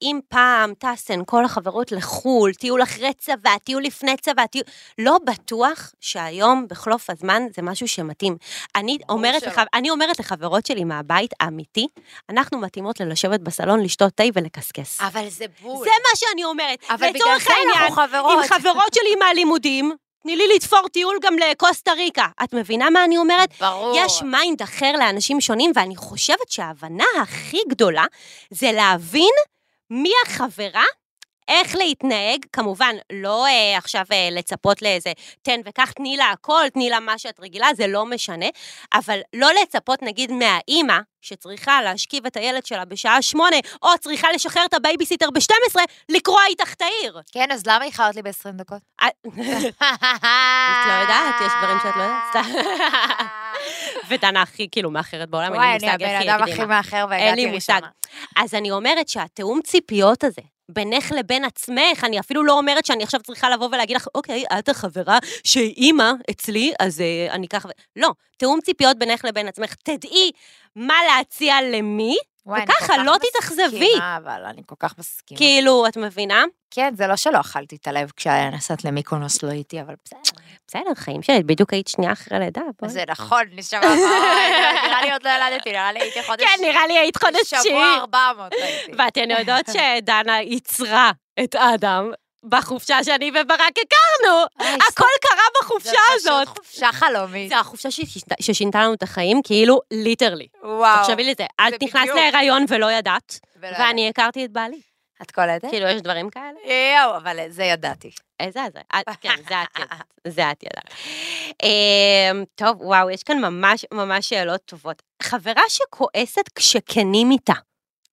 Speaker 2: אם פעם טסן כל החברות לחו"ל, טיול אחרי צבא, טיול לפני צבא, טיול... לא בטוח שהיום, בחלוף הזמן, זה משהו שמתאים. אני
Speaker 3: ברור
Speaker 2: אומרת,
Speaker 3: שלא.
Speaker 2: לח... אני אומרת לחברות שלי מהבית, אמיתי, אנחנו מתאימות ללשבת בסלון, לשתות תה ולקסקס.
Speaker 3: אבל זה בול.
Speaker 2: זה מה שאני אומרת.
Speaker 3: אבל בגלל
Speaker 2: לצורך
Speaker 3: זה
Speaker 2: העניין,
Speaker 3: אנחנו חברות.
Speaker 2: עם חברות שלי מהלימודים, תני לי לתפור טיול גם לקוסטה ריקה. את מבינה מה אני אומרת?
Speaker 3: ברור.
Speaker 2: יש מיינד אחר לאנשים שונים, ואני חושבת שההבנה הכי גדולה זה להבין מי החברה, איך להתנהג, כמובן, לא אה, עכשיו אה, לצפות לאיזה תן וקח, תני לה הכל, תני לה מה שאת רגילה, זה לא משנה, אבל לא לצפות נגיד מהאימא, שצריכה להשכיב את הילד שלה בשעה שמונה, או צריכה לשחרר את הבייביסיטר ב-12, לקרוע איתך את העיר.
Speaker 3: כן, אז למה איחרת לי ב-20 דקות?
Speaker 2: אה, את לא יודעת, יש דברים שאת לא יודעת. סתם. ודנה הכי כאילו מאחרת בעולם, אין לי
Speaker 3: וואי, אני
Speaker 2: מושג איך
Speaker 3: הבן
Speaker 2: היא
Speaker 3: אדם הכי
Speaker 2: הקדימה.
Speaker 3: מאחר והגעתי ראשונה.
Speaker 2: אין לי מושג. אז אני אומרת שהתיאום ציפיות הזה, בינך לבין עצמך, אני אפילו לא אומרת שאני עכשיו צריכה לבוא ולהגיד לך, אוקיי, את החברה שהיא אימא אצלי, אז אה, אני ככה... ו-" לא, תיאום ציפיות בינך לבין עצמך. תדעי מה להציע למי,
Speaker 3: וואי, אני
Speaker 2: וככה
Speaker 3: כל כך
Speaker 2: לא תתאכזבי.
Speaker 3: מסכימה, אבל אני כל כך מסכימה.
Speaker 2: כאילו, את מבינה?
Speaker 3: כן, זה לא שלא אכלתי את הלב כשנסעת למיקונוס לא איתי, אבל בסדר.
Speaker 2: בסדר, חיים שלי, בדיוק היית שנייה אחרי לידה, בואי. אה.
Speaker 3: זה נכון, נשמה, בואי, נראה לי עוד לא ילדתי, נראה לי הייתי חודש...
Speaker 2: כן, נראה לי היית חודש תשיעי.
Speaker 3: שבוע 400 הייתי.
Speaker 2: ואתן יודעות שדנה ייצרה את אדם בחופשה שאני וברק הכרנו.
Speaker 3: איי,
Speaker 2: הכל קרה
Speaker 3: זה
Speaker 2: בחופשה
Speaker 3: פשוט
Speaker 2: הזאת.
Speaker 3: חופשה חלומית.
Speaker 2: זה החופשה ששינתה- ששינתה לנו את החיים, כאילו, ליטרלי.
Speaker 3: וואו.
Speaker 2: תחשבי לזה, את
Speaker 3: זה
Speaker 2: נכנסת
Speaker 3: בדיוק.
Speaker 2: להיריון ולא ידעת,
Speaker 3: ולא ידעתי.
Speaker 2: ואני הכרתי את בעלי.
Speaker 3: את קולטת?
Speaker 2: כאילו, יש דברים כאלה?
Speaker 3: יואו, אבל זה ידעתי.
Speaker 2: איזה זה? את- כן, זה את יודעת. זה את יודעת. אמ, טוב, וואו, יש כאן ממש ממש שאלות טובות. חברה שכועסת כשכנים איתה,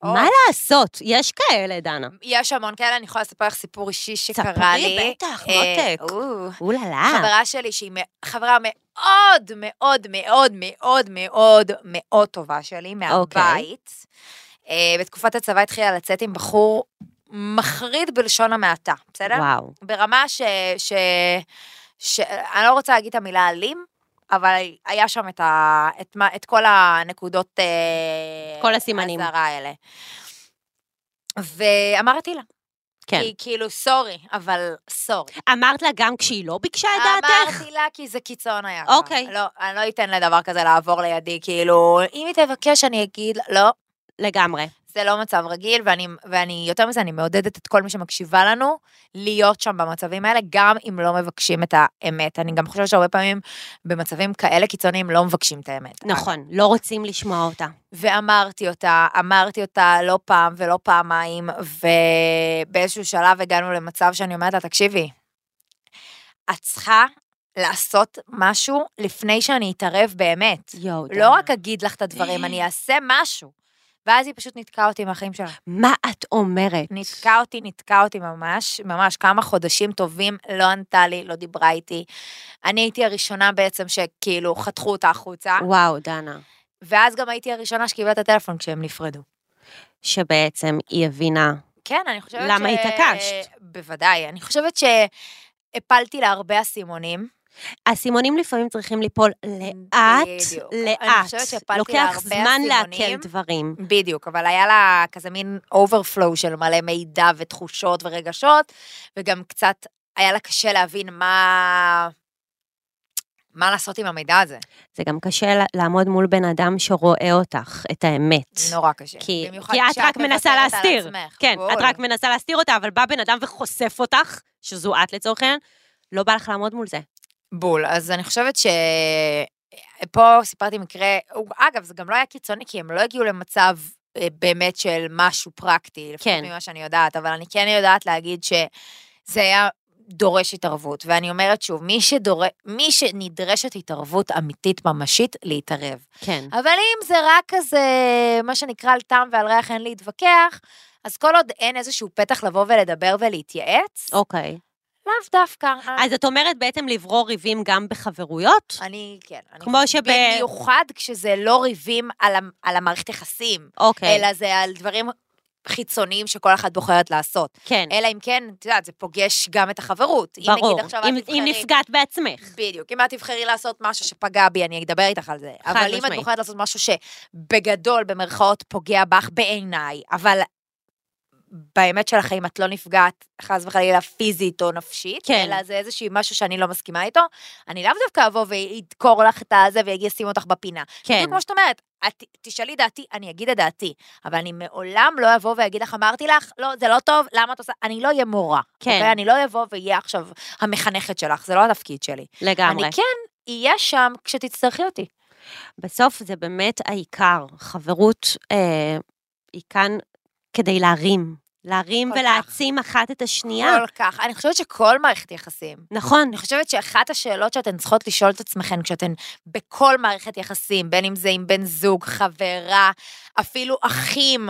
Speaker 2: מה לעשות? יש כאלה, דנה.
Speaker 3: יש המון כאלה, אני יכולה לספר לך סיפור אישי שקרה לי.
Speaker 2: ספרי, בטח,
Speaker 3: אה,
Speaker 2: מותק.
Speaker 3: או,
Speaker 2: אוללה.
Speaker 3: חברה שלי, שהיא מ- חברה מאוד מאוד מאוד מאוד מאוד מאוד טובה שלי,
Speaker 2: אוקיי.
Speaker 3: מהבית. אה, בתקופת הצבא התחילה לצאת עם בחור מחריד בלשון המעטה, בסדר?
Speaker 2: וואו.
Speaker 3: ברמה ש... ש... ש... אני לא רוצה להגיד את המילה אלים, אבל היה שם את, ה... את, מה... את כל הנקודות... אה,
Speaker 2: כל הסימנים.
Speaker 3: הזרה האלה. ואמרתי לה,
Speaker 2: כן.
Speaker 3: כי כאילו, סורי, אבל סורי.
Speaker 2: אמרת לה גם כשהיא לא ביקשה את
Speaker 3: אה,
Speaker 2: דעתך?
Speaker 3: אמרתי לה כי זה קיצון היה.
Speaker 2: אוקיי.
Speaker 3: לא, אני לא אתן לדבר כזה לעבור לידי, כאילו, אם היא תבקש אני אגיד, לה, לא,
Speaker 2: לגמרי.
Speaker 3: זה לא מצב רגיל, ואני, ואני, יותר מזה, אני מעודדת את כל מי שמקשיבה לנו להיות שם במצבים האלה, גם אם לא מבקשים את האמת. אני גם חושבת שהרבה פעמים במצבים כאלה קיצוניים לא מבקשים את האמת.
Speaker 2: נכון, לא רוצים לשמוע אותה.
Speaker 3: ואמרתי אותה, אמרתי אותה לא פעם ולא פעמיים, ובאיזשהו שלב הגענו למצב שאני אומרת לה, תקשיבי, את צריכה לעשות משהו לפני שאני אתערב באמת.
Speaker 2: יואו, דנה.
Speaker 3: לא רק אגיד לך את הדברים, אני אעשה משהו. ואז היא פשוט נתקעה אותי מהחיים שלה.
Speaker 2: מה את אומרת?
Speaker 3: נתקע אותי, נתקע אותי ממש, ממש כמה חודשים טובים, לא ענתה לי, לא דיברה איתי. אני הייתי הראשונה בעצם שכאילו חתכו אותה החוצה,
Speaker 2: וואו, דנה.
Speaker 3: ואז גם הייתי הראשונה שקיבלה את הטלפון כשהם נפרדו.
Speaker 2: שבעצם היא הבינה.
Speaker 3: כן, אני חושבת
Speaker 2: למה התעקשת?
Speaker 3: בוודאי, אני חושבת שהפלתי לה הרבה אסימונים.
Speaker 2: האסימונים לפעמים צריכים ליפול לאט,
Speaker 3: בדיוק. אני
Speaker 2: לאט.
Speaker 3: חושבת שהפלתי לה
Speaker 2: לוקח
Speaker 3: הרבה
Speaker 2: זמן לעכל
Speaker 3: אסימונים.
Speaker 2: דברים.
Speaker 3: בדיוק, אבל היה לה כזה מין אוברפלואו של מלא מידע ותחושות ורגשות, וגם קצת היה לה קשה להבין מה... מה לעשות עם המידע הזה.
Speaker 2: זה גם קשה ל- לעמוד מול בן אדם שרואה אותך, את האמת.
Speaker 3: נורא קשה.
Speaker 2: כי,
Speaker 3: במיוחד
Speaker 2: כי את
Speaker 3: כשאת
Speaker 2: רק מנסה
Speaker 3: מוותרת על
Speaker 2: להסתיר.
Speaker 3: עצמך,
Speaker 2: כן, את
Speaker 3: בול.
Speaker 2: רק מנסה להסתיר אותה, אבל בא בן אדם וחושף אותך, שזו את לצורך העניין, לא בא לך לעמוד מול זה.
Speaker 3: בול, אז אני חושבת ש... פה סיפרתי מקרה, הוא- אגב, זה גם לא היה קיצוני, כי הם לא הגיעו למצב אה, באמת של משהו פרקטי, לפחות
Speaker 2: כן.
Speaker 3: ממה שאני יודעת, אבל אני כן יודעת להגיד שזה היה דורש התערבות. ואני אומרת שוב, מי, שדור... מי שנדרשת התערבות אמיתית ממשית, להתערב.
Speaker 2: כן.
Speaker 3: אבל אם זה רק כזה, מה שנקרא על טעם ועל ריח אין להתווכח, אז כל עוד אין איזשהו פתח לבוא ולדבר ולהתייעץ,
Speaker 2: אוקיי.
Speaker 3: לאו דווקא.
Speaker 2: אז את אומרת בעצם לברור ריבים גם בחברויות?
Speaker 3: אני, כן. אני
Speaker 2: כמו שב-
Speaker 3: במיוחד כשזה לא ריבים על, המ- על המערכת יחסים,
Speaker 2: אוקיי,
Speaker 3: אלא זה על דברים חיצוניים שכל אחת בוחרת לעשות.
Speaker 2: כן,
Speaker 3: אלא אם כן, את יודעת, זה פוגש גם את החברות. אם
Speaker 2: ברור.
Speaker 3: נגיד עכשיו
Speaker 2: אם-
Speaker 3: את תבחרי...
Speaker 2: אם נפגעת בעצמך.
Speaker 3: בדיוק. אם את תבחרי לעשות משהו שפגע בי, אני אדבר איתך על זה.
Speaker 2: חד
Speaker 3: אבל אם את
Speaker 2: משמעית.
Speaker 3: בוחרת לעשות משהו שבגדול, במרכאות, פוגע בך בעיניי, אבל באמת של החיים את לא נפגעת, חס וחלילה, פיזית או נפשית,
Speaker 2: כן.
Speaker 3: אלא זה איזשהו משהו שאני לא מסכימה איתו, אני לאו דווקא אבוא ואדקור לך את הזה ויגיד, שים אותך בפינה.
Speaker 2: כן,
Speaker 3: בדיוק כמו שאת אומרת, את תשאלי דעתי, אני אגיד את דעתי, אבל אני לעולם לא אבוא ואגיד לך, אמרתי לך, לא, זה לא טוב, למה את עושה, אני לא אהיה מורה.
Speaker 2: כן.
Speaker 3: אוקיי? אני לא אבוא ואהיה עכשיו המחנכת שלך, זה לא התפקיד שלי.
Speaker 2: לגמרי.
Speaker 3: אני כן אהיה שם כשתצטרכי אותי.
Speaker 2: בסוף זה באמת העיקר. חברות אה, היא כאן כדי להרים. להרים
Speaker 3: כל כך.
Speaker 2: ולהעצים אחת את השנייה.
Speaker 3: כל כך. אני חושבת שכל מערכת יחסים.
Speaker 2: נכון.
Speaker 3: אני חושבת שאחת השאלות שאתן צריכות לשאול את עצמכן כשאתן בכל מערכת יחסים, בין אם זה עם בן זוג, חברה, אפילו אחים,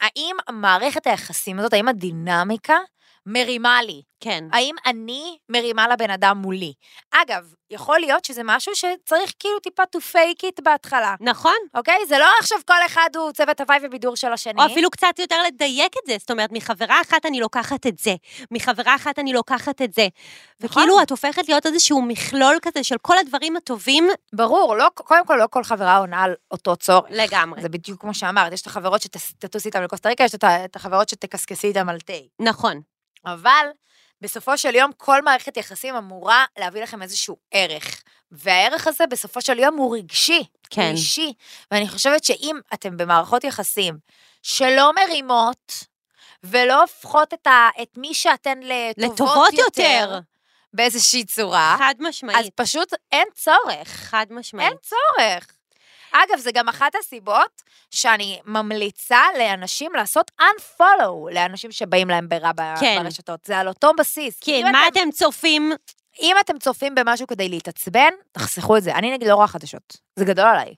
Speaker 3: האם מערכת היחסים הזאת, האם הדינמיקה מרימה לי?
Speaker 2: כן.
Speaker 3: האם אני מרימה לבן אדם מולי? אגב, יכול להיות שזה משהו שצריך כאילו טיפה to fake it בהתחלה,
Speaker 2: נכון.
Speaker 3: אוקיי? זה לא עכשיו כל אחד הוא צוות הוואי ובידור של השני.
Speaker 2: או אפילו קצת יותר לדייק את זה, זאת אומרת, מחברה אחת אני לוקחת את זה, מחברה אחת אני לוקחת את זה.
Speaker 3: נכון.
Speaker 2: וכאילו, את הופכת להיות איזשהו מכלול כזה של כל הדברים הטובים
Speaker 3: ברור, לא, קודם כל לא כל חברה עונה על אותו צורך.
Speaker 2: לגמרי.
Speaker 3: זה בדיוק כמו שאמרת, יש את החברות שתטוס איתן לקוסטה ריקה, יש את ה- את החברות שתקסקסי איתן על תה.
Speaker 2: נכון,
Speaker 3: אבל בסופו של יום, כל מערכת יחסים אמורה להביא לכם איזשהו ערך. והערך הזה בסופו של יום הוא רגשי, כן. הוא
Speaker 2: כן,
Speaker 3: אישי. ואני חושבת שאם אתם במערכות יחסים שלא מרימות, ולא הופכות את, ה, את מי שאתן לטובות,
Speaker 2: לטובות יותר,
Speaker 3: באיזושהי צורה,
Speaker 2: חד
Speaker 3: אה? אז כן?
Speaker 2: משמעית,
Speaker 3: פשוט אין צורך.
Speaker 2: חד
Speaker 3: אין
Speaker 2: משמעית,
Speaker 3: צורך. אגב, זה גם אחת הסיבות שאני ממליצה לאנשים לעשות unfollow לאנשים שבאים להם ברע ב-
Speaker 2: כן.
Speaker 3: ברשתות. זה על אותו בסיס.
Speaker 2: כן,
Speaker 3: אם
Speaker 2: מה
Speaker 3: אתם,
Speaker 2: אתם צופים?
Speaker 3: אם אתם צופים במשהו כדי להתעצבן, תחסכו את זה. אני נגיד לא רואה חדשות, זה גדול עליי.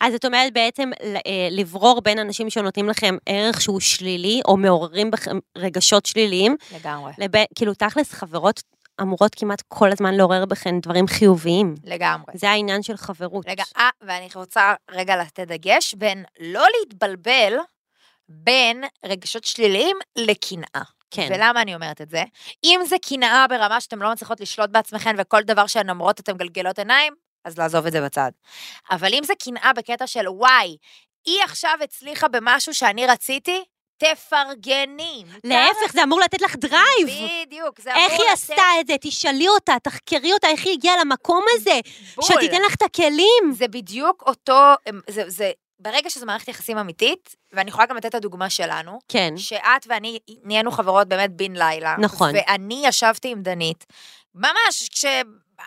Speaker 2: אז את אומרת בעצם ל- אה, לברור בין אנשים שנותנים לכם ערך שהוא שלילי, או מעוררים בכם רגשות שליליים,
Speaker 3: לגמרי.
Speaker 2: לבין, כאילו תכלס חברות אמורות כמעט כל הזמן לעורר בכן דברים חיוביים.
Speaker 3: לגמרי.
Speaker 2: זה העניין של חברות.
Speaker 3: רגע, אה, ואני רוצה רגע לתת דגש בין לא להתבלבל בין רגשות שליליים לקנאה.
Speaker 2: כן.
Speaker 3: ולמה אני אומרת את זה? אם זה קנאה ברמה שאתם לא מצליחות לשלוט בעצמכן וכל דבר שהן אומרות אתן מגלגלות עיניים, אז לעזוב את זה בצד. אבל אם זה קנאה בקטע של וואי, היא עכשיו הצליחה במשהו שאני רציתי, תפרגני. מותר
Speaker 2: להפך, זה אמור לתת לך דרייב.
Speaker 3: בדיוק, זה אמור
Speaker 2: איך היא עשתה את זה? תשאלי אותה, תחקרי אותה, איך היא הגיעה למקום הזה,
Speaker 3: בול.
Speaker 2: שתיתן לך את הכלים.
Speaker 3: זה בדיוק אותו, זה, זה, ברגע שזו מערכת יחסים אמיתית, ואני יכולה גם לתת את הדוגמה שלנו,
Speaker 2: כן,
Speaker 3: שאת ואני נהיינו חברות באמת בן לילה.
Speaker 2: נכון.
Speaker 3: ואני ישבתי עם דנית, ממש כש...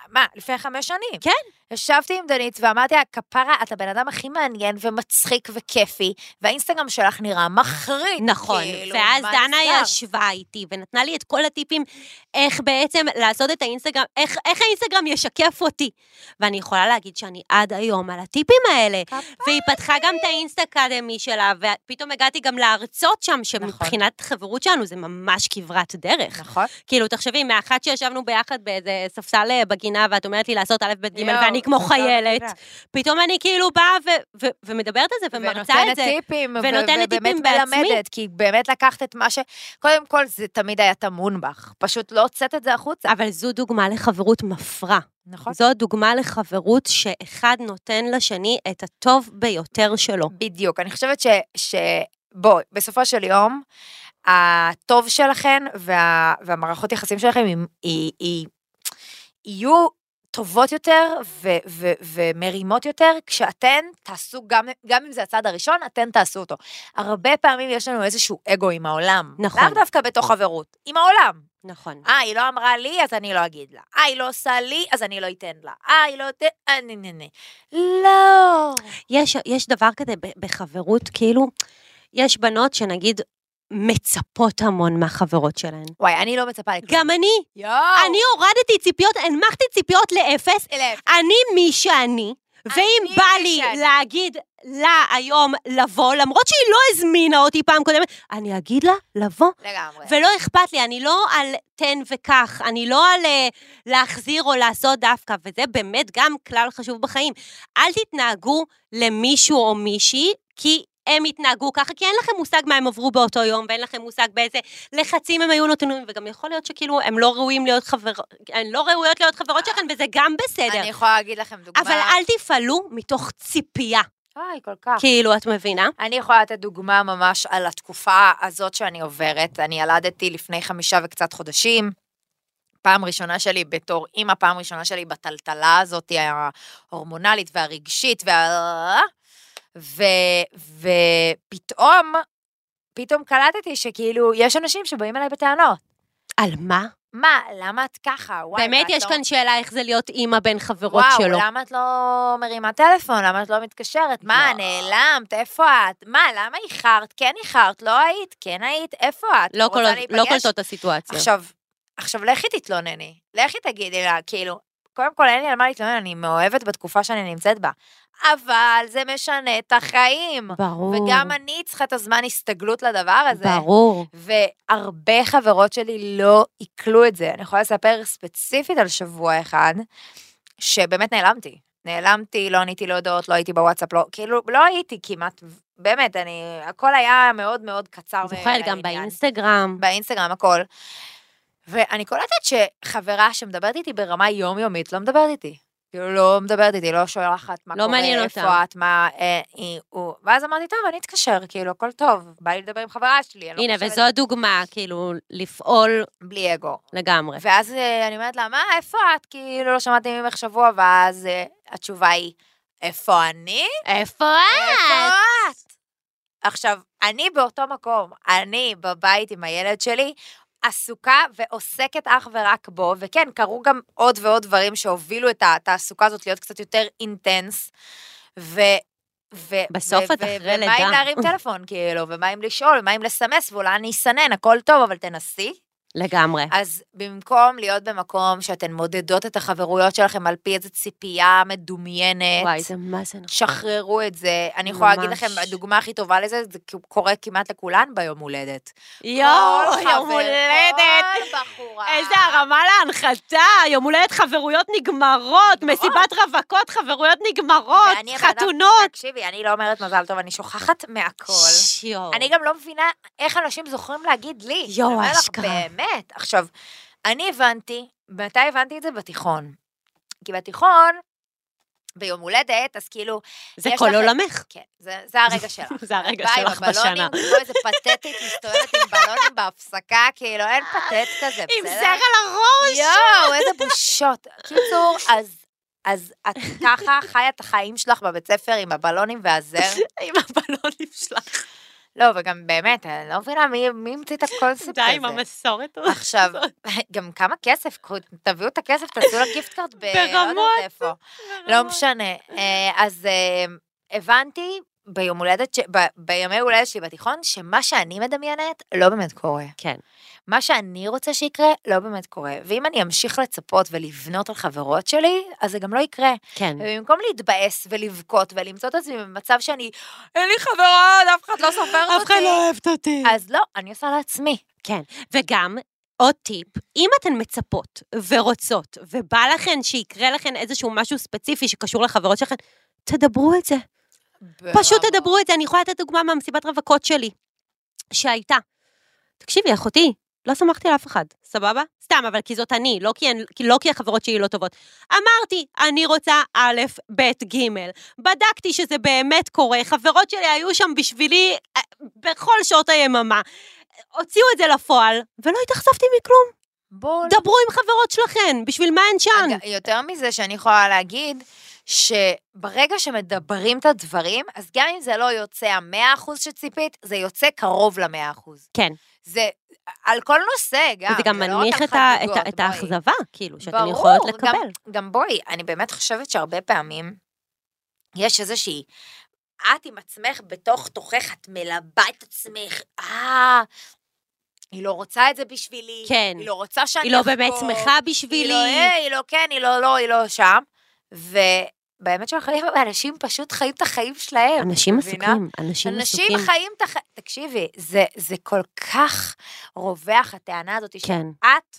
Speaker 3: מה, לפני חמש שנים.
Speaker 2: כן.
Speaker 3: ישבתי עם דנית ואמרתי לה, כפרה, את הבן אדם הכי מעניין ומצחיק וכיפי, והאינסטגרם שלך נראה מחריד.
Speaker 2: נכון.
Speaker 3: כאילו,
Speaker 2: ואז
Speaker 3: מה
Speaker 2: דנה
Speaker 3: נסגר?
Speaker 2: ישבה איתי ונתנה לי את כל הטיפים איך בעצם לעשות את האינסטגרם, איך איך האינסטגרם ישקף אותי. ואני יכולה להגיד שאני עד היום על הטיפים
Speaker 3: אה,
Speaker 2: האלה. והיא פתחה גם את האינסטאקדמי שלה, ופתאום הגעתי גם להרצות שם, שמבחינת חברות שלנו זה ממש כברת דרך.
Speaker 3: נכון.
Speaker 2: כאילו, תחשבי, מאחת שישבנו ביחד באיזה ספסל אה, בגינה, ואת אומרת לי לעשות א', ב', ג',
Speaker 3: יואו,
Speaker 2: ואני כמו
Speaker 3: זאת לא
Speaker 2: חיילת,
Speaker 3: נקודה.
Speaker 2: פתאום אני כאילו באה ו- ו- ומדברת על זה ומרצה את
Speaker 3: ונותנת
Speaker 2: זה.
Speaker 3: טיפים, ו-
Speaker 2: ונותנת
Speaker 3: ובאמת
Speaker 2: טיפים בעצמי.
Speaker 3: מלמדת, כי באמת לקחת את מה ש... קודם כל, זה תמיד היה טמון בך, פשוט לא הוצאת את זה החוצה.
Speaker 2: אבל זו דוגמה לחברות מפרה.
Speaker 3: נכון.
Speaker 2: זו דוגמה לחברות שאחד נותן לשני את הטוב ביותר שלו.
Speaker 3: בדיוק, אני חושבת ש... ש... בוא, בסופו של יום, הטוב שלכן וה... והמערכות יחסים שלכם היא... היא... היא... יהיו טובות יותר ו... ו... ומרימות יותר, כשאתן תעשו, גם... גם אם זה הצעד הראשון, אתן תעשו אותו. הרבה פעמים יש לנו איזשהו אגו עם העולם.
Speaker 2: נכון.
Speaker 3: לאו דווקא בתוך חברות, עם העולם.
Speaker 2: נכון.
Speaker 3: אה, היא לא אמרה לי, אז אני לא אגיד לה. אה, היא לא עושה לי, אז אני לא אתן לה. אה, היא לא... ת- אה, נה, נה, נה. לא.
Speaker 2: יש, יש דבר כזה ב- בחברות, כאילו, יש בנות שנגיד מצפות המון מהחברות שלהן.
Speaker 3: וואי, אני לא מצפה לכלום.
Speaker 2: גם אני,
Speaker 3: יואו.
Speaker 2: אני הורדתי ציפיות, הנמכתי ציפיות לאפס,
Speaker 3: אלף.
Speaker 2: אני מי שאני, ואם
Speaker 3: אני
Speaker 2: בא
Speaker 3: מי
Speaker 2: לי
Speaker 3: שאני.
Speaker 2: להגיד לה היום לבוא, למרות שהיא לא הזמינה אותי פעם קודמת, אני אגיד לה לבוא.
Speaker 3: לגמרי.
Speaker 2: ולא אכפת לי, אני לא על תן וקח, אני לא על אה, להחזיר או לעשות דווקא, וזה באמת גם כלל חשוב בחיים. אל תתנהגו למישהו או מישהי, כי הם התנהגו ככה, כי אין לכם מושג מה הם עברו באותו יום, ואין לכם מושג באיזה לחצים הם היו נתונים, וגם יכול להיות שכאילו הם לא ראויים להיות חברות, הן לא ראויות להיות חברות שלכם, וזה גם בסדר.
Speaker 3: אני יכולה להגיד לכם דוגמה.
Speaker 2: אבל אל תפעלו מתוך ציפייה,
Speaker 3: אוי, כל כך.
Speaker 2: כאילו, את מבינה?
Speaker 3: אני יכולה לתת דוגמה ממש על התקופה הזאת שאני עוברת. אני ילדתי לפני חמישה וקצת חודשים. פעם ראשונה שלי בתור אימא, פעם ראשונה שלי בטלטלה הזאת ההורמונלית והרגשית וה... ו... ופתאום, פתאום קלטתי שכאילו, יש אנשים שבאים אליי בטענות.
Speaker 2: על מה?
Speaker 3: מה, למה את ככה? וואי,
Speaker 2: באמת
Speaker 3: ואת
Speaker 2: יש
Speaker 3: לא-
Speaker 2: כאן שאלה איך זה להיות אימא בין חברות
Speaker 3: וואו,
Speaker 2: שלו.
Speaker 3: וואו, למה את לא מרימה טלפון? למה את לא מתקשרת? מה,
Speaker 2: לא.
Speaker 3: נעלמת? איפה את? מה, למה איחרת? כן איחרת, לא היית, כן היית, איפה את?
Speaker 2: לא
Speaker 3: רוצה
Speaker 2: קולט- לא
Speaker 3: להיפגש?
Speaker 2: קולטות את הסיטואציה.
Speaker 3: עכשיו, עכשיו לכי תתלונני. לכי תגידי לה, כאילו, קודם כל אין לי על מה להתלונן, אני מאוהבת בתקופה שאני נמצאת בה. אבל זה משנה את החיים.
Speaker 2: ברור.
Speaker 3: וגם אני צריכה את הזמן הסתגלות לדבר הזה.
Speaker 2: ברור.
Speaker 3: והרבה חברות שלי לא עיכלו את זה. אני יכולה לספר ספציפית על שבוע אחד, שבאמת נעלמתי. נעלמתי, לא עניתי להודעות, לא הייתי בוואטסאפ, לא, כאילו, לא הייתי כמעט, באמת, אני, הכל היה מאוד מאוד קצר.
Speaker 2: זוכרת גם
Speaker 3: ולעניין.
Speaker 2: באינסטגרם.
Speaker 3: באינסטגרם, הכל. ואני קולטת שחברה שמדברת איתי ברמה יומיומית, לא מדברת איתי. כאילו, לא מדברת איתי, לא שולחת מה
Speaker 2: לא
Speaker 3: קורה,
Speaker 2: מעניין
Speaker 3: איפה
Speaker 2: אותה.
Speaker 3: את, מה... אה, היא, הוא... ואז אמרתי, טוב, אני אתקשר, כאילו, הכל טוב, בא לי לדבר עם חברה שלי. אני לא
Speaker 2: הנה,
Speaker 3: חושבת-
Speaker 2: וזו הדוגמה, כאילו, לפעול
Speaker 3: בלי אגו.
Speaker 2: אוקיי. לגמרי.
Speaker 3: ואז אה, אני אומרת לה, מה, איפה את? כאילו, לא שמעתי ממך שבוע, ואז אה, התשובה היא, איפה אני?
Speaker 2: איפה
Speaker 3: איפה
Speaker 2: את?
Speaker 3: את? עכשיו, אני באותו מקום, אני בבית עם הילד שלי, עסוקה ועוסקת אך ורק בו, וכן, קרו גם עוד ועוד דברים שהובילו את התעסוקה הזאת להיות קצת יותר אינטנס, ו... ו-
Speaker 2: בסוף
Speaker 3: ו-
Speaker 2: את
Speaker 3: ו-
Speaker 2: אחרי
Speaker 3: ומה
Speaker 2: לידה.
Speaker 3: אם להרים טלפון, כאילו, ומה אם לשאול, ומה אם לסמס, ואולי אני אסנן, הכל טוב, אבל תנסי
Speaker 2: לגמרי.
Speaker 3: אז במקום להיות במקום שאתן מודדות את החברויות שלכם על פי איזו ציפייה מדומיינת,
Speaker 2: וואי, זה מה זה נכון.
Speaker 3: שחררו את זה. אני יכולה להגיד
Speaker 2: ממש.
Speaker 3: לכם, הדוגמה הכי טובה לזה, זה קורה כמעט לכולן ביום הולדת.
Speaker 2: יואו,
Speaker 3: כל
Speaker 2: יום
Speaker 3: חבר-
Speaker 2: הולדת!
Speaker 3: כל בחורה.
Speaker 2: איזה הרמה להנחתה, יום הולדת חברויות נגמרות, מסיבת רווקות חברויות נגמרות,
Speaker 3: ואני לא הבן אדם-
Speaker 2: חתונות.
Speaker 3: תקשיבי, אני לא אומרת מזל טוב, אני שוכחת מהכל.
Speaker 2: שיו.
Speaker 3: אני גם לא מבינה איך אנשים זוכרים להגיד לי.
Speaker 2: יואו,
Speaker 3: אני אומר לך,
Speaker 2: אשכרה.
Speaker 3: באמת. עכשיו, אני הבנתי, מתי הבנתי את זה? בתיכון. כי בתיכון, ביום הולדת, אז כאילו,
Speaker 2: זה
Speaker 3: יש
Speaker 2: כל
Speaker 3: לכם-
Speaker 2: עולמך.
Speaker 3: כן, זה, זה הרגע שלך.
Speaker 2: זה הרגע
Speaker 3: באה עם
Speaker 2: שלך בשנה.
Speaker 3: הבלונים, כמו איזה פתטית מסתובבת עם בלונים בהפסקה, כאילו, אין פתט כזה,
Speaker 2: עם
Speaker 3: בסדר?
Speaker 2: זר על הראש!
Speaker 3: יואו, איזה בושות. קיצור, אז... אז את ככה חיה את החיים שלך בבית ספר עם הבלונים והזר.
Speaker 2: עם הבלונים שלך.
Speaker 3: לא, וגם באמת, אני לא מבינה מי מי המציא את הקונספט
Speaker 2: די
Speaker 3: הזה.
Speaker 2: עם המסורת הזאת.
Speaker 3: עכשיו, גם כמה כסף, קחו- תביאו את הכסף, תעשו לה גיפט קארט ב... לא יודעת
Speaker 2: ברמות,
Speaker 3: איפה. לא משנה. אה, אז אה, הבנתי ביום הולדת, ש- ב- בימי הולדת שלי בתיכון, שמה שאני מדמיינת לא באמת קורה.
Speaker 2: כן.
Speaker 3: מה שאני רוצה שיקרה לא באמת קורה. ואם אני אמשיך לצפות ולבנות על חברות שלי, אז זה גם לא יקרה.
Speaker 2: כן.
Speaker 3: ובמקום להתבאס ולבכות ולמצוא את עצמי במצב שאני, אין לי חברות, אף אחד לא סופר אותי.
Speaker 2: אף אחד לא אוהבת אותי.
Speaker 3: אז לא, אני עושה לעצמי.
Speaker 2: כן, וגם עוד טיפ, אם אתן מצפות ורוצות, ובא לכן שיקרה לכן איזשהו משהו ספציפי שקשור לחברות שלכן, תדברו את זה. פשוט
Speaker 3: אה.
Speaker 2: תדברו את זה. אני יכולה לתת דוגמה מהמסיבת רווקות שלי, שהייתה. תקשיבי, אחותי, לא סמכתי על אף אחד, סבבה? סתם, אבל כי זאת אני, לא כי, הן- כי- לא כי החברות שלי לא טובות. אמרתי, אני רוצה א', ב', ג'. בדקתי שזה באמת קורה, חברות שלי היו שם בשבילי אה, בכל שעות היממה. הוציאו את זה לפועל, ולא התאכזבתי מכלום.
Speaker 3: בול.
Speaker 2: דברו עם חברות שלכן, בשביל מה הן שם?
Speaker 3: אג- יותר מזה שאני יכולה להגיד, שברגע שמדברים את הדברים, אז גם אם זה לא יוצא המאה אחוז שציפית, זה יוצא קרוב למאה אחוז.
Speaker 2: כן.
Speaker 3: זה על כל נושא, גם.
Speaker 2: זה גם
Speaker 3: לא רק
Speaker 2: מנמיך
Speaker 3: על
Speaker 2: את ה- את
Speaker 3: חגיגות,
Speaker 2: ה- את
Speaker 3: בואי.
Speaker 2: האכזבה, כאילו, שאתן
Speaker 3: ברור,
Speaker 2: יכולות
Speaker 3: גם-
Speaker 2: לקבל.
Speaker 3: גם בואי, אני באמת חושבת שהרבה פעמים יש איזושהי... את עם עצמך בתוך תוכך, את מלבה את עצמך, אה, היא לא רוצה את זה בשבילי.
Speaker 2: כן.
Speaker 3: היא לא רוצה שאני
Speaker 2: היא לא באמת
Speaker 3: אחגוג,
Speaker 2: שמחה
Speaker 3: היא
Speaker 2: בשבילי.
Speaker 3: לא, אה, היא לא כן, היא לא, לא, היא לא שם. ובאמת של החיים, אנשים פשוט חיים את החיים שלהם.
Speaker 2: אנשים
Speaker 3: מבינה?
Speaker 2: עסוקים, אנשים עסוקים.
Speaker 3: אנשים חיים את החיים, תקשיבי, זה, זה כל כך רווח, הטענה הזאת, ש-
Speaker 2: כן,
Speaker 3: את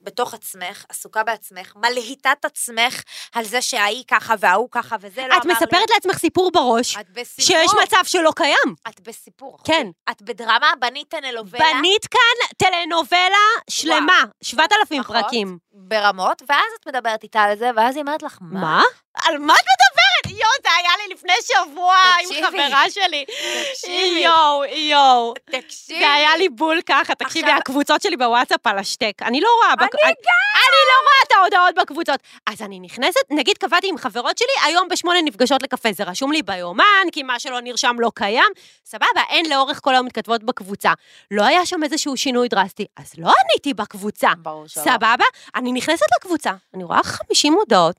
Speaker 3: בתוך עצמך, עסוקה בעצמך, מלהיטה את עצמך על זה שההיא ככה וההוא ככה וזה לא אמר לי.
Speaker 2: את מספרת לעצמך סיפור בראש,
Speaker 3: את בסיפור.
Speaker 2: שיש מצב שלא קיים.
Speaker 3: את בסיפור. אחותי.
Speaker 2: כן.
Speaker 3: את בדרמה, בנית נלובלה.
Speaker 2: בנית כאן טלנובלה שלמה, 7,000
Speaker 3: נכון.
Speaker 2: פרקים.
Speaker 3: ברמות, ואז את מדברת איתה על זה, ואז היא אומרת לך, מה?
Speaker 2: מה? על מה את מדברת? יואו, זה היה לי לפני שבוע עם
Speaker 3: תקשיבי.
Speaker 2: חברה שלי.
Speaker 3: תקשיבי.
Speaker 2: יואו, יואו.
Speaker 3: תקשיבי.
Speaker 2: זה היה לי בול ככה, תקשיבי,
Speaker 3: עכשיו-
Speaker 2: הקבוצות שלי בוואטסאפ על השתק. אני לא רואה...
Speaker 3: אני
Speaker 2: גם! אני לא רואה את ההודעות בקבוצות. אז אני נכנסת, נגיד קבעתי עם חברות שלי, היום בשמונה נפגשות לקפה, זה רשום לי ביומן, כי מה שלא נרשם לא קיים, סבבה, אין לאורך כל היום מתכתבות בקבוצה. לא היה שם איזשהו שינוי דרסטי, אז לא עניתי בקבוצה.
Speaker 3: ברור שלא.
Speaker 2: אה, סבבה? אני נכנסת לקבוצה, אני רואה 50 הודעות.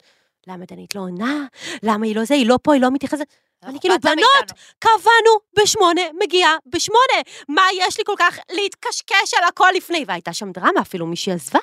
Speaker 2: למה דנית לא עונה? למה היא לא זה? היא לא פה, היא לא מתייחסת.
Speaker 3: לא
Speaker 2: אני
Speaker 3: אכפת
Speaker 2: כאילו,
Speaker 3: לה מאיתנו.
Speaker 2: בנות, קבענו בשמונה, מגיעה בשמונה. מה יש לי כל כך להתקשקש על הכל לפני? והייתה שם דרמה, אפילו מישהי עזבה.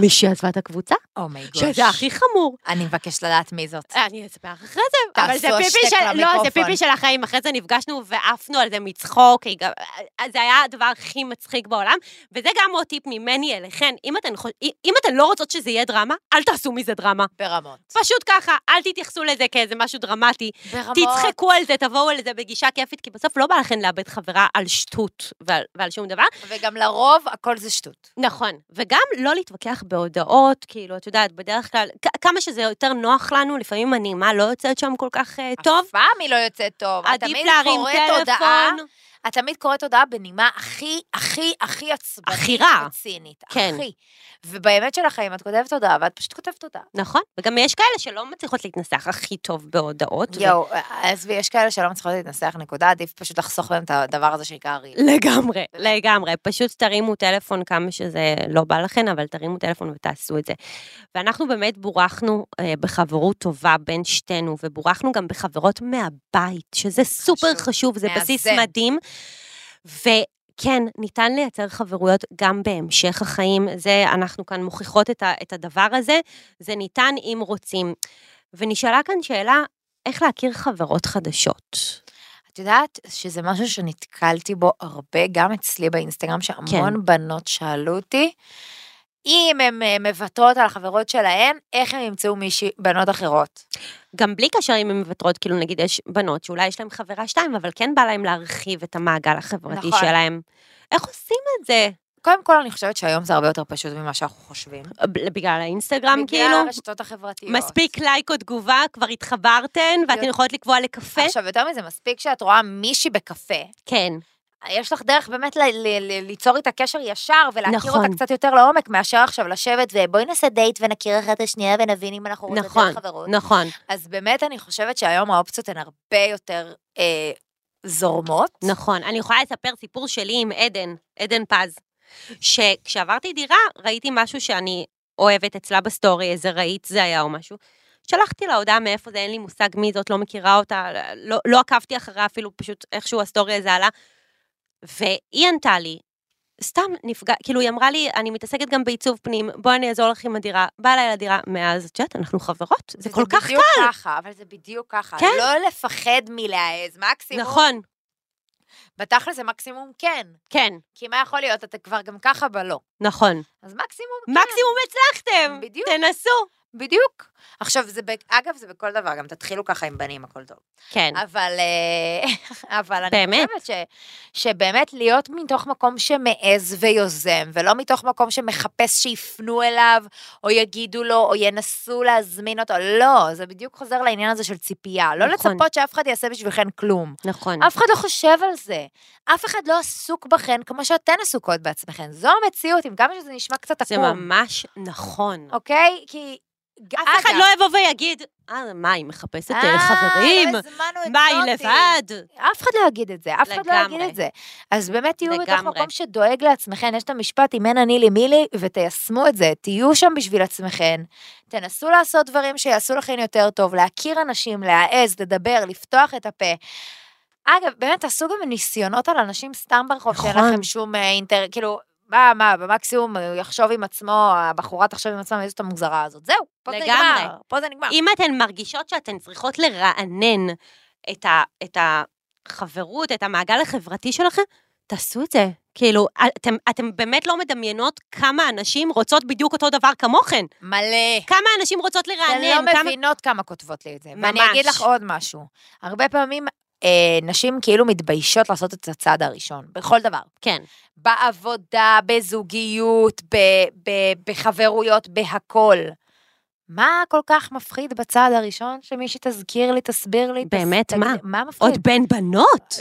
Speaker 2: מישהי עזבה את הקבוצה,
Speaker 3: אומייגוש.
Speaker 2: שזה הכי חמור.
Speaker 3: Oh אני מבקשת לדעת מי זאת.
Speaker 2: אני אספר אחרי זה, אבל זה
Speaker 3: תעשו
Speaker 2: פיפי
Speaker 3: השתק
Speaker 2: של... לא, זה
Speaker 3: למיקרופון.
Speaker 2: פיפי של החיים. אחרי זה נפגשנו ועפנו על זה מצחוק. היא גם- אז זה היה הדבר הכי מצחיק בעולם. וזה גם עוד טיפ ממני אליכן. אם אתן חוש- אם אתן לא רוצות שזה יהיה דרמה, אל תעשו מזה דרמה.
Speaker 3: ברמות.
Speaker 2: פשוט ככה, אל תתייחסו לזה כאיזה משהו דרמטי.
Speaker 3: ברמות.
Speaker 2: תצחקו על זה, תבואו על זה בגישה כיפית, כי בסוף לא בא לכן לאבד חברה על שטות ועל, ועל שום דבר.
Speaker 3: וגם לרוב הכל זה שטות.
Speaker 2: נכון, וגם לא להתווכח בהודעות, כאילו, את יודעת, בדרך כלל, כ- כמה שזה יותר נוח לנו, לפעמים הנעימה לא יוצאת שם כל כך uh, טוב.
Speaker 3: אף פעם היא לא יוצאת טוב. את
Speaker 2: עדיף
Speaker 3: תמיד
Speaker 2: להרים
Speaker 3: קוראת הודעה-
Speaker 2: טלפון.
Speaker 3: את תמיד קוראת הודעה בנימה הכי, הכי, הכי עצבנית.
Speaker 2: הכי רע.
Speaker 3: וצינית.
Speaker 2: כן.
Speaker 3: הכי. ובאמת של החיים את כותבת הודעה, ואת פשוט כותבת הודעה.
Speaker 2: נכון, וגם יש כאלה שלא מצליחות להתנסח הכי טוב בהודעות. ו-
Speaker 3: יואו, אה, עזבי, יש כאלה שלא מצליחות להתנסח, נקודה, עדיף פשוט לחסוך להם את הדבר הזה שנקרא ריב.
Speaker 2: לגמרי, לגמרי. פשוט תרימו טלפון כמה שזה לא בא לכם, אבל תרימו טלפון ותעשו את זה. ואנחנו באמת בורחנו אה, בחברות טובה בין שתינו, ובורחנו גם בחברות מהבית, שזה סופר
Speaker 3: חשוב,
Speaker 2: חשוב, זה בסיס
Speaker 3: מאזן.
Speaker 2: מדהים. ו... כן, ניתן לייצר חברויות גם בהמשך החיים. זה, אנחנו כאן מוכיחות את, ה, את הדבר הזה. זה ניתן אם רוצים. ונשאלה כאן שאלה, איך להכיר חברות חדשות?
Speaker 3: את יודעת שזה משהו שנתקלתי בו הרבה, גם אצלי באינסטגרם, שהמון
Speaker 2: כן.
Speaker 3: כן. בנות שאלו אותי, אם הן אה, מוותרות על החברות שלהן, איך הן ימצאו מישהי, בנות אחרות.
Speaker 2: גם בלי קשר אם הן מוותרות, כאילו נגיד יש בנות שאולי יש להן חברה שתיים, אבל כן בא להן להרחיב את המעגל החברתי
Speaker 3: נכון.
Speaker 2: שלהן. איך עושים את זה?
Speaker 3: קודם כל, אני חושבת שהיום זה הרבה יותר פשוט ממה שאנחנו חושבים.
Speaker 2: ב- בגלל האינסטגרם, כאילו?
Speaker 3: בגלל הרשתות החברתיות.
Speaker 2: מספיק לייק או תגובה, כבר התחברתן, ואתן
Speaker 3: יותר-
Speaker 2: יכולות לקבוע לקפה?
Speaker 3: עכשיו, יותר מזה, מספיק שאת רואה מישהי בקפה,
Speaker 2: כן.
Speaker 3: יש לך דרך באמת ל- ל- ל- ליצור איתה קשר ישר ולהכיר
Speaker 2: נכון.
Speaker 3: אותה קצת יותר לעומק מאשר עכשיו לשבת ובואי נעשה דייט ונכיר אחת את השנייה ונבין אם אנחנו רוצים
Speaker 2: נכון,
Speaker 3: להיות חברות.
Speaker 2: נכון,
Speaker 3: אז באמת אני חושבת שהיום האופציות הן הרבה יותר אה, זורמות.
Speaker 2: נכון. אני יכולה לספר סיפור שלי עם עדן, עדן פז, שכשעברתי דירה, ראיתי משהו שאני אוהבת אצלה בסטורי, איזה רהיט זה היה או משהו. שלחתי לה הודעה מאיפה זה, אין לי מושג מי זאת, לא מכירה אותה, לא, לא עקבתי אחריה אפילו, פשוט איכשהו הסטורי הזה עלה. והיא ענתה לי, סתם נפגע, כאילו היא אמרה לי, אני מתעסקת גם בעיצוב פנים, בואי אני אעזור לך עם הדירה. באה אליי לדירה, מאז, את יודעת, אנחנו חברות, זה
Speaker 3: וזה
Speaker 2: כל כך
Speaker 3: בדיוק ככה, אבל זה בדיוק ככה.
Speaker 2: כן.
Speaker 3: לא לפחד מלהעז, מקסימום.
Speaker 2: נכון,
Speaker 3: בתכל'ס זה מקסימום כן.
Speaker 2: כן,
Speaker 3: כי מה יכול להיות, אתה כבר גם ככה בלא.
Speaker 2: נכון.
Speaker 3: אז מקסימום כן.
Speaker 2: מקסימום הצלחתם,
Speaker 3: בדיוק.
Speaker 2: תנסו.
Speaker 3: בדיוק. עכשיו, זה, ב- אגב, זה בכל דבר, גם תתחילו ככה עם בנים, הכל טוב.
Speaker 2: כן,
Speaker 3: אבל, אה, אבל אני
Speaker 2: באמת.
Speaker 3: חושבת ש, שבאמת להיות מתוך מקום שמעז ויוזם, ולא מתוך מקום שמחפש שיפנו אליו, או יגידו לו, או ינסו להזמין אותו, לא, זה בדיוק חוזר לעניין הזה של ציפייה. לא
Speaker 2: נכון.
Speaker 3: לצפות שאף אחד יעשה בשבילכן כלום.
Speaker 2: נכון.
Speaker 3: אף אחד לא חושב על זה. אף אחד לא עסוק בכן כמו שאתן עסוקות בעצמכן. זו המציאות, אם גם שזה נשמע קצת
Speaker 2: זה
Speaker 3: עקום,
Speaker 2: ממש נכון.
Speaker 3: אוקיי? כי...
Speaker 2: לא- אף אחד לא יבוא ויגיד, אה, מה, היא מחפשת אה,
Speaker 3: לא
Speaker 2: חברים? מה, היא לבד?
Speaker 3: אף אחד לא יגיד את זה, אף אחד לא יגיד
Speaker 2: לגמרי.
Speaker 3: את זה. אז באמת תהיו בתוך
Speaker 2: לגמרי.
Speaker 3: מקום שדואג לעצמכם, יש את המשפט אם אין אני לי מי לי, ותיישמו את זה, תהיו שם בשביל עצמכם, תנסו לעשות דברים שיעשו לכם יותר טוב, להכיר אנשים, להעז, לדבר, לפתוח את הפה. אגב, באמת, תעשו גם ניסיונות על אנשים סתם ברחוב, שאין
Speaker 2: נכון.
Speaker 3: לכם שום אה, אינטר... כאילו, מה, מה, במקסימום הוא יחשוב עם עצמו, הבחורה תחשוב עם עצמה, איזו המוגזרה הזאת. זהו, פה זה
Speaker 2: לגמרי.
Speaker 3: נגמר, פה זה נגמר.
Speaker 2: אם אתן מרגישות שאתן צריכות לרענן את, ה, את החברות, את המעגל החברתי שלכם, תעשו את זה. כאילו, אתם, אתם באמת לא מדמיינות כמה אנשים רוצות בדיוק אותו דבר כמוכן.
Speaker 3: מלא.
Speaker 2: כמה אנשים רוצות לרענן.
Speaker 3: אתן לא
Speaker 2: כמה...
Speaker 3: מבינות כמה כותבות לי את זה. ואני
Speaker 2: ממש.
Speaker 3: אגיד לך עוד משהו. הרבה פעמים אה, נשים כאילו מתביישות לעשות את הצעד הראשון, בכל דבר.
Speaker 2: כן,
Speaker 3: בעבודה, בזוגיות, ב, ב, בחברויות, בהכל. מה כל כך מפחיד בצעד הראשון? שמישהי תזכיר לי, תסביר לי.
Speaker 2: באמת,
Speaker 3: תגיד,
Speaker 2: מה?
Speaker 3: מה מפחיד?
Speaker 2: עוד בין בנות.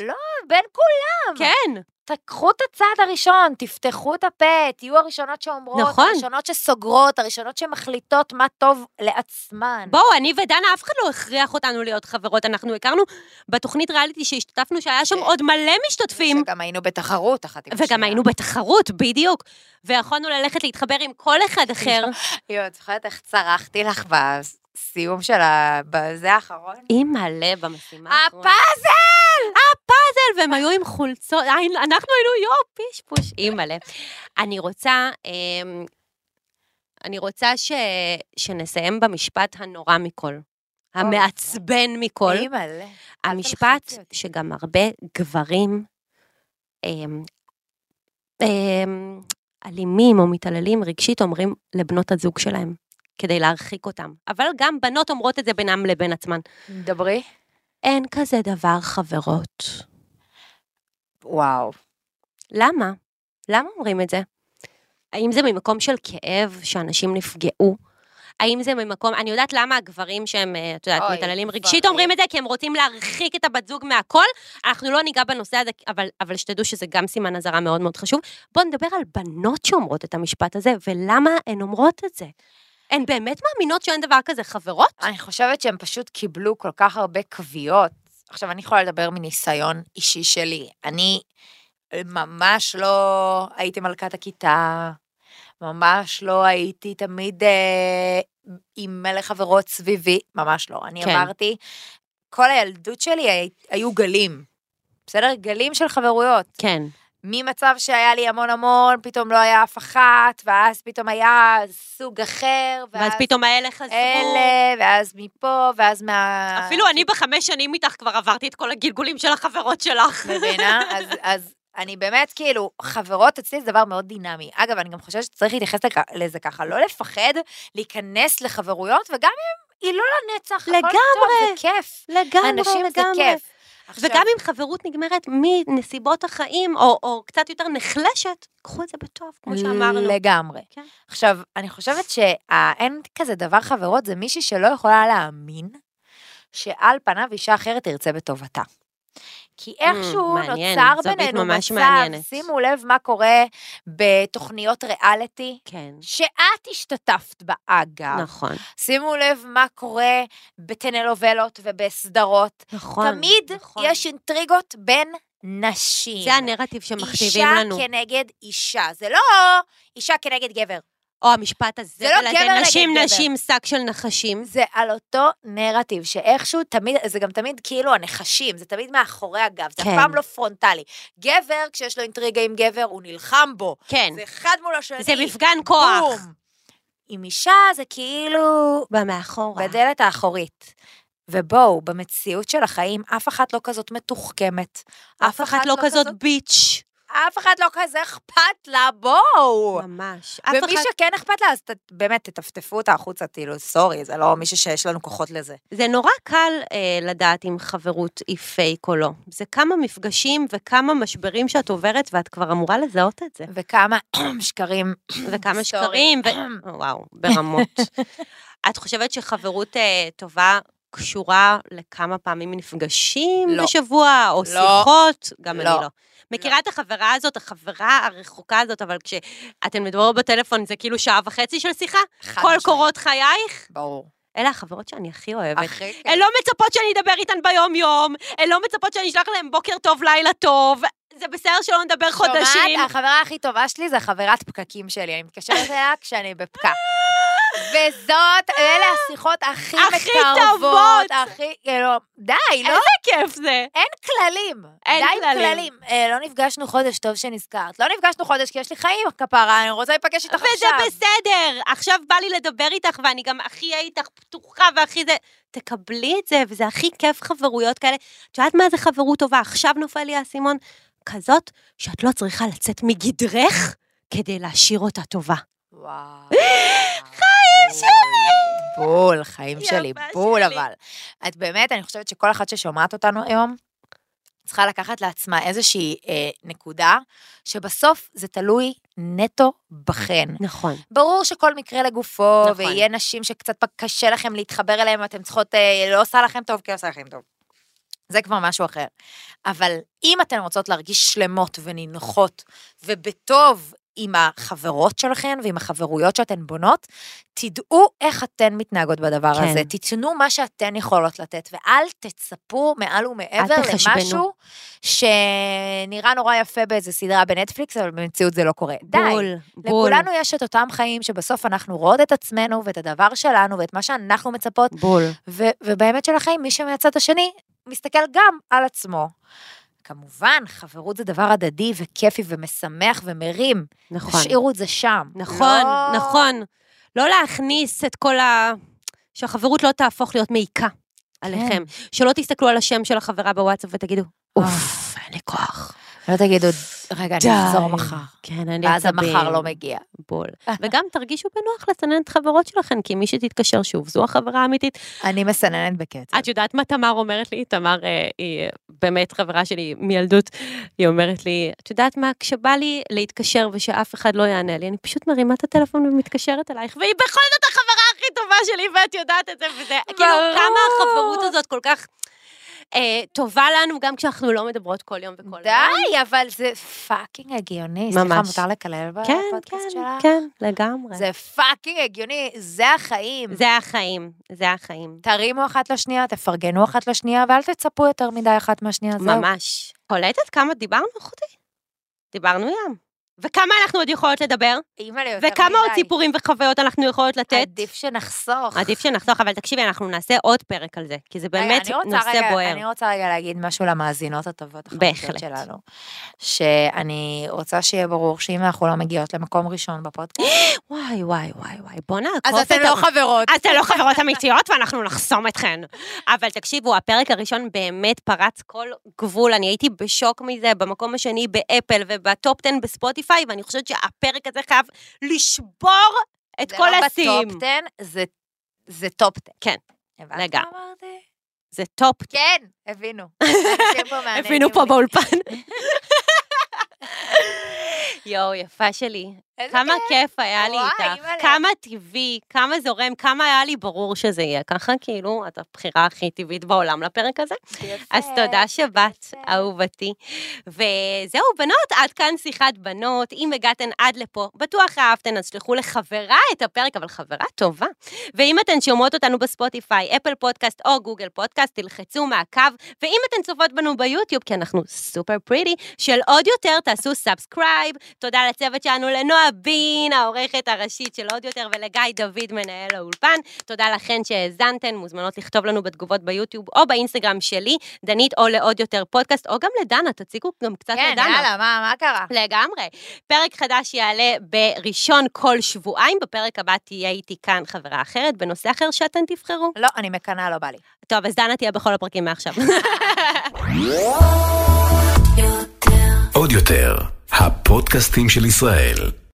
Speaker 3: בין כולם.
Speaker 2: כן,
Speaker 3: תקחו את הצעד הראשון, תפתחו את הפה, תהיו הראשונות שאומרות,
Speaker 2: נכון.
Speaker 3: הראשונות שסוגרות, הראשונות שמחליטות מה טוב לעצמן.
Speaker 2: בואו, אני ודנה, אף אחד לא הכריח אותנו להיות חברות. אנחנו הכרנו בתוכנית ריאליטי שהשתתפנו, שהיה שם
Speaker 3: כן.
Speaker 2: עוד מלא משתתפים,
Speaker 3: שגם היינו בתחרות אחת עם
Speaker 2: וגם היינו בתחרות, בדיוק. ויכולנו ללכת להתחבר עם כל אחד אחר.
Speaker 3: יואו, את זוכרת איך צרחתי לך בסיום של ה... בזה האחרון?
Speaker 2: היא מלא במשימה האחרונה.
Speaker 3: הפאזל!
Speaker 2: הפאזל, והם היו עם חולצות, אה, אנחנו היינו יו, פשפוש, היא מלא. אני רוצה, אמ, אני רוצה ש, שנסיים במשפט הנורא מכל, המעצבן מכל.
Speaker 3: אימא'לה.
Speaker 2: המשפט
Speaker 3: תלחצי אותי.
Speaker 2: שגם הרבה גברים אמ, אמ, אלימים או מתעללים רגשית אומרים לבנות הזוג שלהם, כדי להרחיק אותם. אבל גם בנות אומרות את זה בינם לבין עצמן.
Speaker 3: דברי.
Speaker 2: אין כזה דבר חברות.
Speaker 3: וואו.
Speaker 2: למה? למה אומרים את זה? האם זה ממקום של כאב, שאנשים נפגעו? האם זה ממקום, אני יודעת למה הגברים שהם, אה, את יודעת,
Speaker 3: אוי,
Speaker 2: מתעללים
Speaker 3: גברים.
Speaker 2: רגשית אומרים את זה, כי הם רוצים להרחיק את הבת זוג מהכל. אנחנו לא ניגע בנושא הזה, אבל, אבל שתדעו שזה גם סימן אזהרה מאוד מאוד חשוב. בואו נדבר על בנות שאומרות את המשפט הזה, ולמה הן אומרות את זה. הן באמת מאמינות שאין דבר כזה חברות?
Speaker 3: אני חושבת שהם פשוט קיבלו כל כך הרבה קביעות. עכשיו, אני יכולה לדבר מניסיון אישי שלי. אני אה, ממש לא הייתי מלכת הכיתה, ממש לא הייתי תמיד אה, עם מלא חברות סביבי, ממש לא. אני
Speaker 2: כן.
Speaker 3: כן. עברתי, כל הילדות שלי הי, היו גלים, בסדר? גלים של חברויות.
Speaker 2: כן,
Speaker 3: ממצב שהיה לי המון המון, פתאום לא היה אף אחת, ואז פתאום היה סוג אחר,
Speaker 2: ואז פתאום האלה חזרו.
Speaker 3: אלה, ואז מפה, ואז מה...
Speaker 2: אפילו אני בחמש שנים איתך כבר עברתי את כל הגלגולים של החברות שלך.
Speaker 3: מבינה? אז, אז אני באמת, כאילו, חברות אצלי זה דבר מאוד דינמי. אגב, אני גם חושבת שצריך להתייחס לכ- לזה ככה, לא לפחד להיכנס לחברויות, וגם אם היא לא לנצח, הכל טוב,
Speaker 2: לגמרי.
Speaker 3: זה כיף.
Speaker 2: לגמרי,
Speaker 3: אנשים זה כיף. עכשיו-
Speaker 2: וגם אם חברות נגמרת מנסיבות החיים, או, או קצת יותר נחלשת, קחו את זה בטוב, כמו שאמרנו.
Speaker 3: לגמרי.
Speaker 2: כן.
Speaker 3: עכשיו, אני חושבת שאין כזה דבר חברות, זה מישהי שלא יכולה להאמין שעל פניו אישה אחרת תרצה בטובתה. כי איכשהו
Speaker 2: Mm, מעניין,
Speaker 3: נוצר
Speaker 2: זווית
Speaker 3: בינינו
Speaker 2: ממש
Speaker 3: מצב,
Speaker 2: מעניינת.
Speaker 3: שימו לב מה קורה בתוכניות ריאליטי,
Speaker 2: כן,
Speaker 3: שאת השתתפת בה, אגב.
Speaker 2: נכון.
Speaker 3: שימו לב מה קורה בטנלובלות ובסדרות.
Speaker 2: נכון.
Speaker 3: תמיד
Speaker 2: נכון.
Speaker 3: יש אינטריגות בין נשים.
Speaker 2: זה הנרטיב שמכתיבים לנו.
Speaker 3: אישה כנגד אישה, זה לא אישה כנגד גבר.
Speaker 2: או המשפט הזה,
Speaker 3: זה לא
Speaker 2: אבל
Speaker 3: גבר נגד
Speaker 2: נשים,
Speaker 3: גבר.
Speaker 2: נשים, שק של נחשים.
Speaker 3: זה על אותו נרטיב, שאיכשהו תמיד, זה גם תמיד כאילו הנחשים, זה תמיד מאחורי הגב, זה אף
Speaker 2: כן.
Speaker 3: פעם לא פרונטלי. גבר, כשיש לו אינטריגה עם גבר, הוא נלחם בו.
Speaker 2: כן,
Speaker 3: זה אחד מול השני.
Speaker 2: זה מפגן כוח.
Speaker 3: בום. עם אישה זה כאילו
Speaker 2: במאחורה.
Speaker 3: בדלת האחורית. ובואו, במציאות של החיים, אף אחת לא כזאת מתוחכמת.
Speaker 2: אף אחת לא כזאת ביץ'.
Speaker 3: אף אחת לא כזה אכפת לה, בואו.
Speaker 2: ממש. אף
Speaker 3: ומי
Speaker 2: אחד...
Speaker 3: שכן אכפת לה, אז ת- באמת, תטפטפו אותה החוצה, כאילו, סורי, זה לא מישהו שיש לנו כוחות לזה.
Speaker 2: זה נורא קל אה, לדעת אם חברות היא פייק או לא. זה כמה מפגשים וכמה משברים שאת עוברת, ואת כבר אמורה לזהות את זה.
Speaker 3: וכמה שקרים.
Speaker 2: וכמה
Speaker 3: סטורי.
Speaker 2: שקרים, ו... אה, וואו, ברמות. את חושבת שחברות אה, טובה קשורה לכמה פעמים נפגשים
Speaker 3: לא.
Speaker 2: בשבוע, או
Speaker 3: לא.
Speaker 2: שיחות? גם
Speaker 3: לא.
Speaker 2: אני לא. מכירה את החברה הזאת, החברה הרחוקה הזאת, אבל כשאתן מדברות בטלפון זה כאילו שעה וחצי של שיחה?
Speaker 3: חד
Speaker 2: כל
Speaker 3: משמעית.
Speaker 2: קורות חייך?
Speaker 3: ברור.
Speaker 2: אלה החברות שאני הכי אוהבת.
Speaker 3: הכי
Speaker 2: הן
Speaker 3: כן.
Speaker 2: לא מצפות שאני אדבר איתן ביום-יום, הן לא מצפות שאני אשלח להן בוקר טוב, לילה טוב, זה בסדר שלא נדבר חודשים.
Speaker 3: שומעת, אה. החברה הכי טובה שלי זה חברת פקקים שלי, אני מתקשרת אליה כשאני בפקק. וזאת, אלה השיחות הכי
Speaker 2: הכי
Speaker 3: מקרבות,
Speaker 2: טובות.
Speaker 3: הכי, כאילו, די, לא,
Speaker 2: איזה כיף זה.
Speaker 3: אין כללים.
Speaker 2: אין
Speaker 3: די עם
Speaker 2: כללים.
Speaker 3: כללים. אה, לא נפגשנו חודש, טוב שנזכרת. לא נפגשנו חודש כי יש לי חיים, כפרה, אני רוצה להיפגש איתך
Speaker 2: וזה
Speaker 3: עכשיו.
Speaker 2: בסדר, עכשיו בא לי לדבר איתך, ואני גם הכי אהיה איתך פתוחה והכי זה... תקבלי את זה, וזה הכי כיף חברויות כאלה. את יודעת מה זה חברות טובה? עכשיו נופל לי האסימון. כזאת שאת לא צריכה לצאת מגדרך כדי להשאיר אותה טובה.
Speaker 3: וואו. חיים שלי! בול, חיים
Speaker 2: יפה
Speaker 3: שלי, בול
Speaker 2: שלי.
Speaker 3: אבל. את באמת, אני חושבת שכל אחת ששומעת אותנו היום, צריכה לקחת לעצמה איזושהי אה, נקודה, שבסוף זה תלוי נטו בכן.
Speaker 2: נכון.
Speaker 3: ברור שכל מקרה לגופו,
Speaker 2: נכון.
Speaker 3: נכון. ויהיה נשים שקצת פ- קשה לכם להתחבר אליהם, אתם צריכות, אה, לא עושה לכם טוב, כי עושה לכם טוב. זה כבר משהו אחר. אבל אם אתן רוצות להרגיש שלמות ונינוחות, ובטוב עם החברות שלכן ועם החברויות שאתן בונות, תדעו איך אתן מתנהגות בדבר
Speaker 2: כן.
Speaker 3: כן. הזה. תיתנו מה שאתן יכולות לתת, ואל תצפו מעל ומעבר
Speaker 2: תחשבנו.
Speaker 3: למשהו שנראה נורא יפה באיזה סדרה בנטפליקס, אבל במציאות זה לא קורה. די.
Speaker 2: בול, בול,
Speaker 3: לכולנו יש את אותם חיים שבסוף אנחנו רואות את עצמנו ואת הדבר שלנו ואת מה שאנחנו מצפות,
Speaker 2: בול.
Speaker 3: ו- ובאמת של החיים, מי שמהצד השני מסתכל גם על עצמו. כמובן, חברות זה דבר הדדי וכיפי ומשמח ומרים.
Speaker 2: נכון.
Speaker 3: תשאירו את זה שם.
Speaker 2: נכון,
Speaker 3: לא-
Speaker 2: נכון. לא להכניס את כל ה... שהחברות לא תהפוך להיות מעיקה
Speaker 3: כן.
Speaker 2: עליכם. שלא תסתכלו על השם של החברה בוואטסאפ ותגידו,
Speaker 3: אה.
Speaker 2: אוף, אין לי כוח.
Speaker 3: לא תגידו, רגע,
Speaker 2: די.
Speaker 3: אני אחזור מחר.
Speaker 2: כן, אין לי
Speaker 3: ואז
Speaker 2: עצבים.
Speaker 3: המחר לא מגיע.
Speaker 2: בול. וגם תרגישו בנוח לסנן את חברות שלכם, כי מי שתתקשר שוב, זו החברה האמיתית.
Speaker 3: אני מסננת בקצב.
Speaker 2: את יודעת מה תמר אומרת לי? תמר אה, היא אה, באמת חברה שלי מילדות. היא אומרת לי, את יודעת מה, כשבא לי להתקשר ושאף אחד לא יענה לי, אני פשוט מרימה את הטלפון ומתקשרת אלייך, והיא בכל זאת החברה הכי טובה שלי, ואת יודעת את זה, וזה, כאילו, כמה החברות הזאת כל כך אה, טובה לנו, גם כשאנחנו לא מדברות כל יום וכל יום.
Speaker 3: די, אבל זה פאקינג הגיוני. סליחה,
Speaker 2: ממש.
Speaker 3: מותר לקלל
Speaker 2: כן,
Speaker 3: בפודקאסט
Speaker 2: כן,
Speaker 3: שלך?
Speaker 2: כן, לגמרי.
Speaker 3: זה פאקינג הגיוני, זה החיים.
Speaker 2: זה החיים, זה החיים.
Speaker 3: תרימו אחת לשנייה, תפרגנו אחת לשנייה, ואל תצפו יותר מדי אחת מהשנייה. זהו.
Speaker 2: ממש. קולטת כמה דיברנו, אחותי? דיברנו ים. וכמה אנחנו עוד יכולות לדבר?
Speaker 3: אימא'לה, יותר
Speaker 2: וכמה עוד
Speaker 3: מדי.
Speaker 2: סיפורים וחוויות אנחנו יכולות לתת?
Speaker 3: עדיף שנחסוך.
Speaker 2: עדיף שנחסוך, אבל תקשיבי, אנחנו נעשה עוד פרק על זה, כי זה
Speaker 3: רגע,
Speaker 2: באמת
Speaker 3: אני רוצה
Speaker 2: נושא
Speaker 3: רגע-
Speaker 2: בוער.
Speaker 3: אני רוצה רגע להגיד משהו למאזינות הטובות
Speaker 2: בהחלט.
Speaker 3: החדשות שלנו. שאני רוצה שיהיה ברור שאם אנחנו לא מגיעות למקום ראשון בפודקאסט,
Speaker 2: וואי, וואי, וואי, וואי, בוא נעקוף
Speaker 3: אז אתן
Speaker 2: את
Speaker 3: לא
Speaker 2: ה-
Speaker 3: חברות.
Speaker 2: אתן לא חברות אמיתיות ואנחנו נחסום אתכן. אבל תקשיבו, הפרק הראשון באמת פרץ כל גבול, אני הייתי בשוק מזה, במקום השני באפל ובטופ 10 בספוטיפיי, ואני חושבת שהפרק הזה חייב לשבור את כל השיאים.
Speaker 3: זה לא בטופ 10, זה- זה טופ 10.
Speaker 2: כן.
Speaker 3: הבנת
Speaker 2: רגע.
Speaker 3: מה אמרתי?
Speaker 2: זה טופ.
Speaker 3: כן, הבינו. אנשים פה מהנהנים
Speaker 2: הבינו פה
Speaker 3: לי.
Speaker 2: באולפן. יואו, יפה שלי.
Speaker 3: איזה
Speaker 2: כמה
Speaker 3: כיף.
Speaker 2: כיף היה לי
Speaker 3: וואי,
Speaker 2: איתך,
Speaker 3: אימא'לה.
Speaker 2: כמה טבעי, כמה זורם, כמה היה לי ברור שזה יהיה ככה, כאילו, את הבחירה הכי טבעית בעולם לפרק הזה.
Speaker 3: יפה.
Speaker 2: אז תודה שבאת,
Speaker 3: יפה.
Speaker 2: אהובתי. וזהו, בנות, עד כאן שיחת בנות. אם הגעתן עד לפה, בטוח אהבתן, אז שלחו לחברה את הפרק, אבל חברה טובה. ואם אתן שומעות אותנו בספוטיפיי, אפל פודקאסט או גוגל פודקאסט, תלחצו מעקב. ואם אתן צופות בנו ביוטיוב, כי אנחנו סופר פריטי, של עוד יותר, תעשו סאבסקרייב. תודה לצוות שלנו, לנועה בין, העורכת הראשית של עוד יותר, ולגיא דוד, מנהל האולפן. תודה לכן שהאזנתן, מוזמנות לכתוב לנו בתגובות ביוטיוב או באינסטגרם שלי, דנית או לעוד יותר פודקאסט, או גם לדנה, תציגו גם קצת
Speaker 3: כן,
Speaker 2: לדנה.
Speaker 3: יאללה, מה מה קרה?
Speaker 2: לגמרי. פרק חדש יעלה בראשון כל שבועיים, בפרק הבא תהיה איתי כאן חברה אחרת, בנושא אחר שאתן תבחרו.
Speaker 3: לא, אני מקנאה, לא בא לי.
Speaker 2: טוב, אז דנה תהיה בכל הפרקים מעכשיו.
Speaker 1: עוד יותר, הפודקאסטים של ישראל.